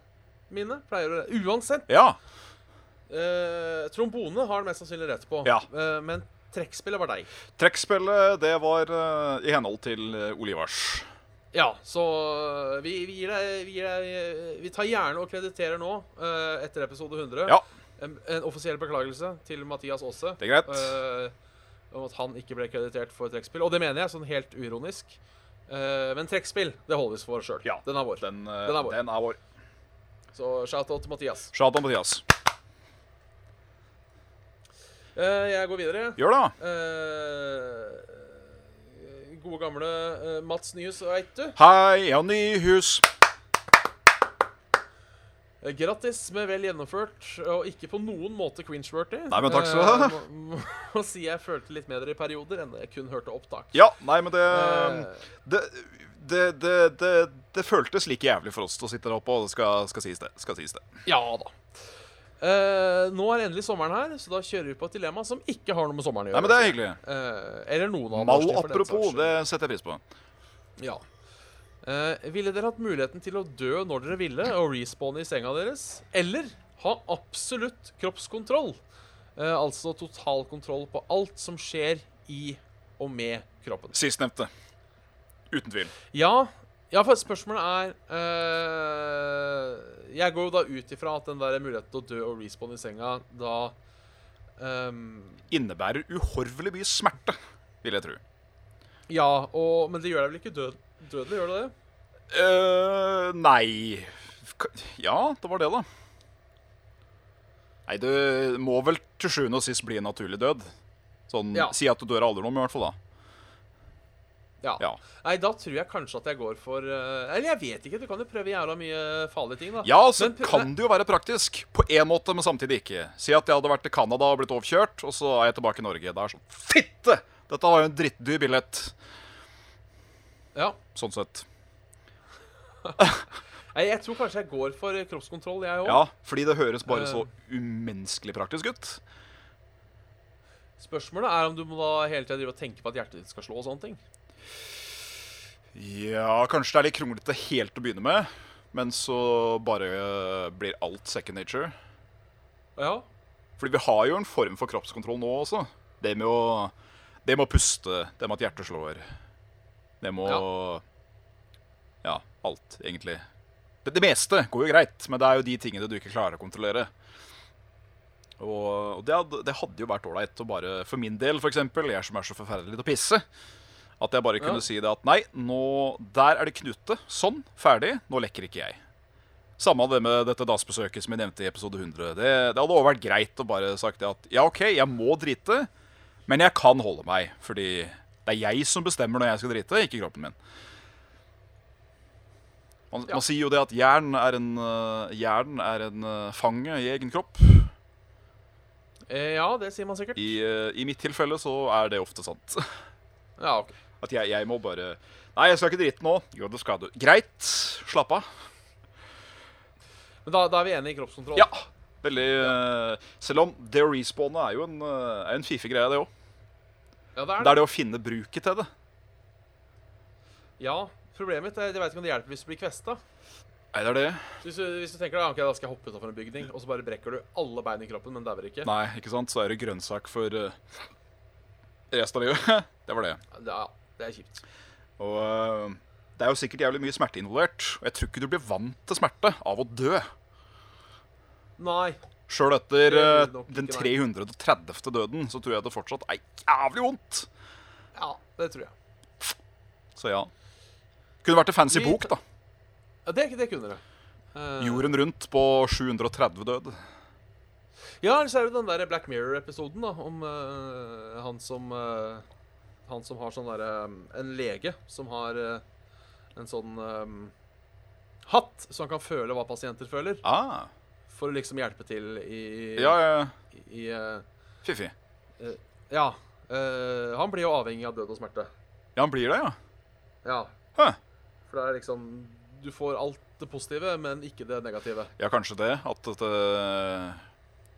Speaker 2: mine? Pleier å Uansett.
Speaker 3: Ja.
Speaker 2: Eh, trombone har han mest sannsynlig rett på.
Speaker 3: Ja.
Speaker 2: Eh, men trekkspillet var deg.
Speaker 3: Trekkspillet, det var eh, i henhold til eh, Olivars.
Speaker 2: Ja, så eh, vi, vi gir deg vi, gir deg, eh, vi tar gjerne og krediterer nå, eh, etter episode 100,
Speaker 3: Ja.
Speaker 2: en, en offisiell beklagelse til Mathias Aase
Speaker 3: Det er greit.
Speaker 2: eh, om at han ikke ble kreditert for trekkspill. Og det mener jeg, sånn helt uironisk. Eh, men trekkspill, det holder vi for oss sjøl.
Speaker 3: Ja.
Speaker 2: Den er vår.
Speaker 3: Den, eh,
Speaker 2: den er vår.
Speaker 3: den er vår.
Speaker 2: Så shout-out til Mathias.
Speaker 3: Shatan Mathias.
Speaker 2: Eh, jeg går videre.
Speaker 3: Gjør det, da.
Speaker 2: Eh, gode gamle eh, Mats Nyhus, veit du.
Speaker 3: Hei, ja, nyhus.
Speaker 2: Eh, Grattis med vel gjennomført, og ikke på noen måte cringe-worthy.
Speaker 3: Nei, men takk skal du ha.
Speaker 2: Eh, Må, må si jeg følte litt med dere i perioder enn da jeg kun hørte opptak.
Speaker 3: Ja, nei, men det
Speaker 2: Eh,
Speaker 3: det, det, det, det, det føltes like jævlig for oss å sitte der oppe, og det skal, skal sies, det. Skal sies det.
Speaker 2: ja da. Eh, nå er endelig sommeren her, så da kjører vi på et dilemma som ikke har noe med sommeren å
Speaker 3: Nei,
Speaker 2: gjøre.
Speaker 3: men det er hyggelig.
Speaker 2: Eh, eller noen av
Speaker 3: Mal
Speaker 2: årstidene, for den
Speaker 3: apropos,
Speaker 2: saks skyld.
Speaker 3: det setter jeg pris på.
Speaker 2: Ja. Eh, ville dere hatt muligheten til å dø når dere ville, og respawne i senga deres? Eller ha absolutt kroppskontroll? Eh, altså total kontroll på alt som skjer i og med kroppen.
Speaker 3: Sistnevnte. Uten tvil.
Speaker 2: Ja, ja for spørsmålet er eh, Jeg går jo da ut ifra at den der muligheten til å dø og respawne i senga da ehm,
Speaker 3: Innebærer uhorvelig mye smerte, vil jeg tro.
Speaker 2: Ja, og, men det gjør deg vel ikke død, dødelig, gjør det det?
Speaker 3: eh nei K- Ja, det var det, da. Nei, det må vel til sjuende og sist bli en naturlig død. Sånn,
Speaker 2: Ja.
Speaker 3: Si at du dør av alderdom, i hvert fall. da
Speaker 2: Ja.
Speaker 3: Ja,
Speaker 2: Nei, da tror jeg kanskje at jeg går for eh, Eller jeg vet ikke. Du kan jo prøve jævla mye farlige ting, da.
Speaker 3: ja så
Speaker 2: Men pr-
Speaker 3: kan det jo være praktisk. På én måte, men samtidig ikke. Si at jeg hadde vært til Canada og blitt overkjørt, og så er jeg tilbake i Norge. Det er sånn Fitte! Dette var jo en drittdyr billett.
Speaker 2: Ja.
Speaker 3: Sånn sett.
Speaker 2: Nei, jeg tror kanskje jeg går for kroppskontroll, jeg òg.
Speaker 3: Ja, fordi det høres bare så umenneskelig praktisk ut.
Speaker 2: Spørsmålet er om du må da hele tida drive og tenke på at hjertet ditt skal slå og sånne ting.
Speaker 3: Ja, kanskje det er litt kronglete helt til å begynne med. eh, Men så bare øh, blir alt second nature.
Speaker 2: Ja.
Speaker 3: Fordi vi har jo en form for kroppskontroll nå også. Det med å, det med å puste, det med at hjertet slår. Det med å Ja, alt, egentlig. Det, det meste går jo greit, men det er jo de tingene du ikke klarer å kontrollere. Og og det hadde, det hadde jo vært ålreit å bare For min del, f.eks., jeg som er så forferdelig til å pisse, at jeg bare kunne
Speaker 2: Ja.
Speaker 3: si det at nei, nå, der er det knute. Sånn, ferdig. Nå lekker ikke jeg. Samme av det med dette DAS-besøket som jeg nevnte i episode 100. Det, det hadde også vært greit å bare sagt det at ja, OK, jeg må drite, men jeg kan holde meg. Fordi det er jeg som bestemmer når jeg skal drite, ikke kroppen min. Man,
Speaker 2: Ja.
Speaker 3: man sier jo det at jern er en, øh, jern er en øh, fange i egen kropp.
Speaker 2: Eh, ja, det sier man sikkert.
Speaker 3: I, øh, I mitt tilfelle så er det ofte sant.
Speaker 2: Ja, ok.
Speaker 3: At jeg, jeg må bare Nei, jeg skal ikke drite nå. Jo, det skal du. Greit. Slapp av.
Speaker 2: Men da, da er vi enige i kroppskontroll.
Speaker 3: Ja. Veldig øh, Selv om det å respawne er jo en, øh, er en fiffig greie, det òg.
Speaker 2: Ja, det er
Speaker 3: Det
Speaker 2: det.
Speaker 3: er det å finne bruket til det.
Speaker 2: ja, problemet mitt er jeg vet ikke om det hjelper hvis du blir kvesta.
Speaker 3: Nei, det er det.
Speaker 2: Hvis, du- hvis du tenker deg, ok, da skal jeg hoppe utafor en bygning, og så bare brekker du alle bein i kroppen, men dauer ikke.
Speaker 3: Nei, ikke sant? Så er det grønnsak for eh, resten av livet. det var det.
Speaker 2: Ja, det er kjipt.
Speaker 3: Og eh, det er jo sikkert jævlig mye smerte involvert. Og jeg tror ikke du blir vant til smerte av å dø.
Speaker 2: Nei.
Speaker 3: Sjøl etter eh,
Speaker 2: Det blir nok
Speaker 3: den
Speaker 2: ikke,
Speaker 3: 330. døden så tror jeg det fortsatt er jævlig vondt.
Speaker 2: Ja, det tror jeg.
Speaker 3: Så ja. Kunne vært en fancy
Speaker 2: Litt-
Speaker 3: bok, da.
Speaker 2: Ja, det, det kunne det. Eh,
Speaker 3: Jorden rundt på 730 død.
Speaker 2: Ja, eller så er det den der Black Mirror-episoden da, om eh, han som eh, Han som har sånn derre eh, En lege som har eh, en sånn eh, hatt, så han kan føle hva pasienter føler,
Speaker 3: Ah,
Speaker 2: for å liksom hjelpe til i
Speaker 3: ja, ja.
Speaker 2: i, eh,
Speaker 3: Fiffig.
Speaker 2: ja. eh, han blir jo avhengig av død og smerte.
Speaker 3: Ja, han blir det, ja.
Speaker 2: Ja.
Speaker 3: Huh.
Speaker 2: For det er liksom Du får alt det positive, men ikke det negative.
Speaker 3: Ja, kanskje det. At det,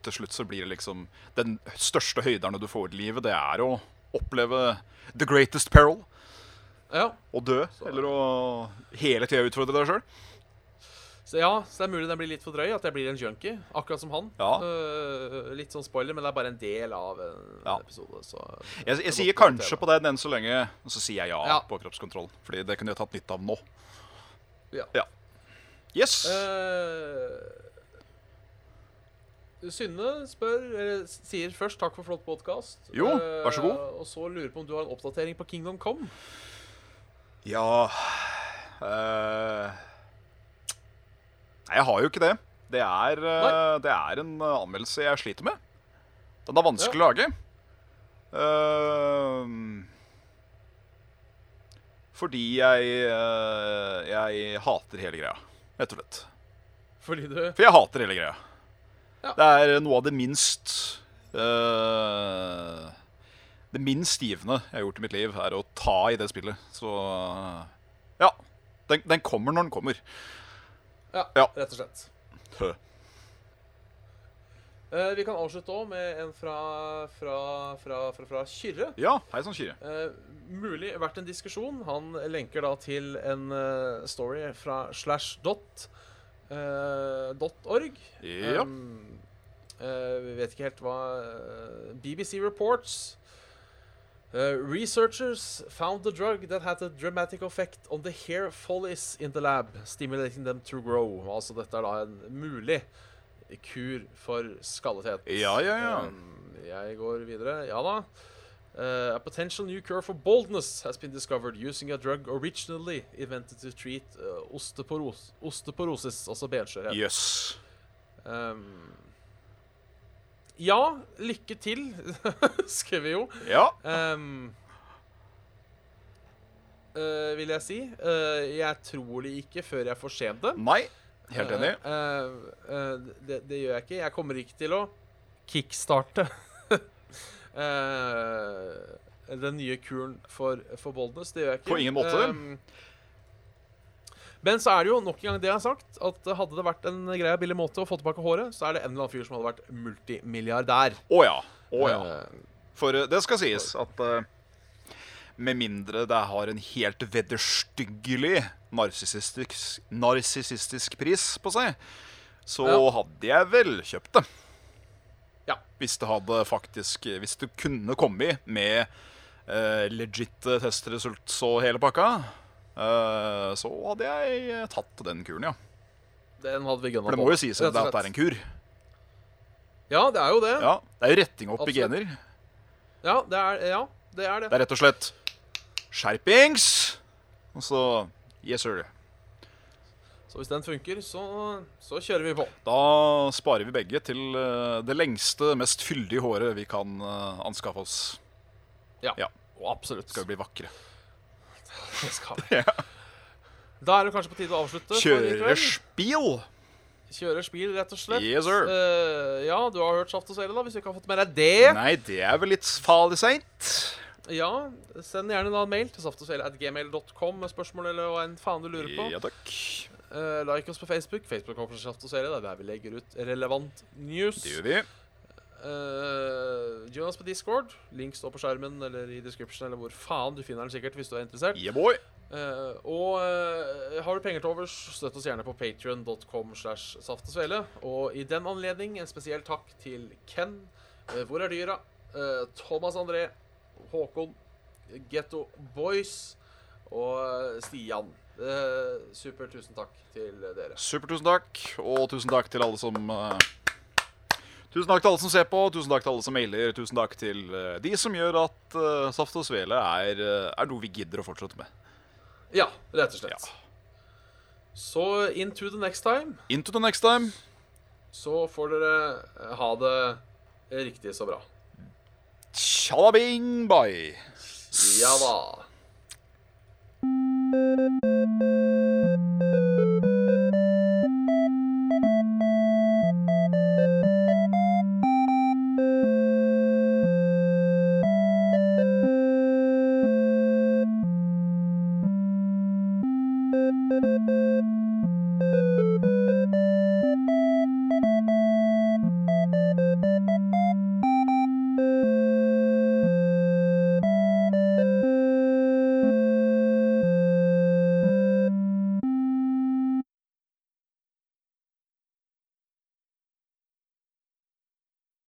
Speaker 3: til slutt så blir det liksom Den største høyderne du får i livet, det er å oppleve the greatest peril.
Speaker 2: Ja.
Speaker 3: Å dø.
Speaker 2: Så-
Speaker 3: Eller å hele tida utfordre deg sjøl.
Speaker 2: Så ja, så det er mulig den blir litt for drøy, at jeg blir en junkie, akkurat som han.
Speaker 3: Ja.
Speaker 2: Øh, litt sånn spoiler, men det er bare en del av en
Speaker 3: Ja.
Speaker 2: episode, så
Speaker 3: Jeg,
Speaker 2: det
Speaker 3: jeg
Speaker 2: måtte
Speaker 3: sier
Speaker 2: være
Speaker 3: kanskje
Speaker 2: tema.
Speaker 3: på den enn så lenge, og så sier jeg ja,
Speaker 2: Ja.
Speaker 3: på kroppskontroll. Fordi det kunne jeg tatt nytte av nå.
Speaker 2: Ja.
Speaker 3: Yes!
Speaker 2: Eh, Synne spør, eller s- sier først takk for flott podkast.
Speaker 3: Jo, vær så god.
Speaker 2: og så lurer på om du har en oppdatering på Kingdom Come.
Speaker 3: Ja eh, Nei, jeg har jo ikke det. Det er, eh, det er en eh, anmeldelse jeg sliter med. Den er vanskelig å lage. Eh, fordi jeg eh, Jeg hater hele greia, rett og slett.
Speaker 2: Fordi du
Speaker 3: For jeg hater hele greia.
Speaker 2: Ja.
Speaker 3: Det er noe av det minst eh, Det minst givende jeg har gjort i mitt liv, er å ta i det spillet. Så eh, ja. Den, den kommer når den kommer.
Speaker 2: Ja,
Speaker 3: Ja.
Speaker 2: rett og slett.
Speaker 3: Hø.
Speaker 2: Eh, vi kan avslutte òg med en fra, fra, fra, fra, fra Kyrre.
Speaker 3: Ja, hei sann, Kyrre.
Speaker 2: Eh, mulig vært en diskusjon. Han lenker da til en eh, story fra slash dot eh, dot org.
Speaker 3: Ja.
Speaker 2: Um, eh, vi vet ikke helt hva eh, BBC reports. eh, researchers found the drug that had a dramatic effect on the hair follies in the lab, stimulating them to grow. Altså dette er da en mulig kur for skallethet.
Speaker 3: Ja, ja, ja.
Speaker 2: Um, jeg går videre. Ja da. Uh, a potential new cure for baldness has been discovered using a drug originally invented to treat uh, osteoporos osteoporosis, altså benskjørhet.
Speaker 3: Jøss.
Speaker 2: Um, ja, lykke til, skrev vi jo.
Speaker 3: Ja.
Speaker 2: Um, eh, vil jeg si. Eh, jeg tror det ikke før jeg får se det.
Speaker 3: Nei. Helt enig.
Speaker 2: Eh, eh, eh, det, det gjør jeg ikke. Jeg kommer ikke til å kickstarte eh, den nye kuren for, for boldness. Det gjør jeg ikke.
Speaker 3: På ingen måte.
Speaker 2: Um, men så er det jo nok en gang det jeg har sagt, at hadde det vært en grei og billig måte å få tilbake håret, så er det en eller annen fyr som hadde vært multimilliardær.
Speaker 3: Å ja. Å ja.
Speaker 2: Eh,
Speaker 3: For eh, det skal sies at eh, med mindre det har en helt vederstyggelig narsissistisk, narsissistisk pris på seg, så
Speaker 2: Ja.
Speaker 3: hadde jeg vel kjøpt det.
Speaker 2: Ja.
Speaker 3: Hvis det hadde faktisk eh, Hvis det kunne kommet med eh, legitte testresultats og hele pakka, eh, så hadde jeg eh, tatt den kuren, ja.
Speaker 2: Den hadde vi gunna
Speaker 3: For det må jo sies at det er en kur.
Speaker 2: Ja, det er jo det. Ja,
Speaker 3: Ja, Det er jo retting opp i
Speaker 2: Absolutt.
Speaker 3: gener.
Speaker 2: det, er, ja, det er det.
Speaker 3: Det er rett og slett skjerpings! Og så Yes, sir.
Speaker 2: Så hvis den funker, så, så kjører vi på.
Speaker 3: Da sparer vi begge til eh, det lengste, mest fyldige håret vi kan eh, anskaffe oss.
Speaker 2: Ja.
Speaker 3: Ja.
Speaker 2: Og absolutt.
Speaker 3: Skal vi bli vakre.
Speaker 2: Det skal vi. Da er det kanskje på tide å avslutte. for i kveld.
Speaker 3: Kjøre spil!
Speaker 2: Kjører spil, rett og slett.
Speaker 3: Yes, sir.
Speaker 2: Eh, ja, du har hørt Saft og Svele, da, hvis du ikke har fått med deg det.
Speaker 3: Nei, det er vel litt farlig seint.
Speaker 2: Ja, Send gjerne da en mail til saftogsvele.gmail.com med spørsmål eller hva enn faen du lurer på.
Speaker 3: Ja takk.
Speaker 2: Eh, like oss på Facebook. Facebook kommer Saft og Svele, det er der vi legger ut relevant news.
Speaker 3: Det gjør vi.
Speaker 2: Eh, join oss på Discord. Link står på skjermen eller i description eller hvor faen. Du finner den sikkert hvis du er interessert.
Speaker 3: Yeah, boy.
Speaker 2: Eh, og eh, har du penger til overs, støtt oss gjerne på patrion.com slash saft og svele. Og i den anledning en spesiell takk til Ken, eh, Hvor er dyra?, eh, Thomas André, Håkon, Getto Boys og eh, Stian. Eh, super tusen takk til dere.
Speaker 3: Super, tusen takk. Og tusen takk til alle som eh, Tusen takk til alle som ser på, tusen takk til alle som mailer. Tusen takk til eh, de som gjør at eh, Saft og Svele er, eh, er noe vi gidder å fortsette med.
Speaker 2: Ja, rett og slett.
Speaker 3: Ja.
Speaker 2: Så into the next time,
Speaker 3: Into the next time.
Speaker 2: så får dere eh, ha det riktig så bra.
Speaker 3: Tjalabing, bye.
Speaker 2: Ja da.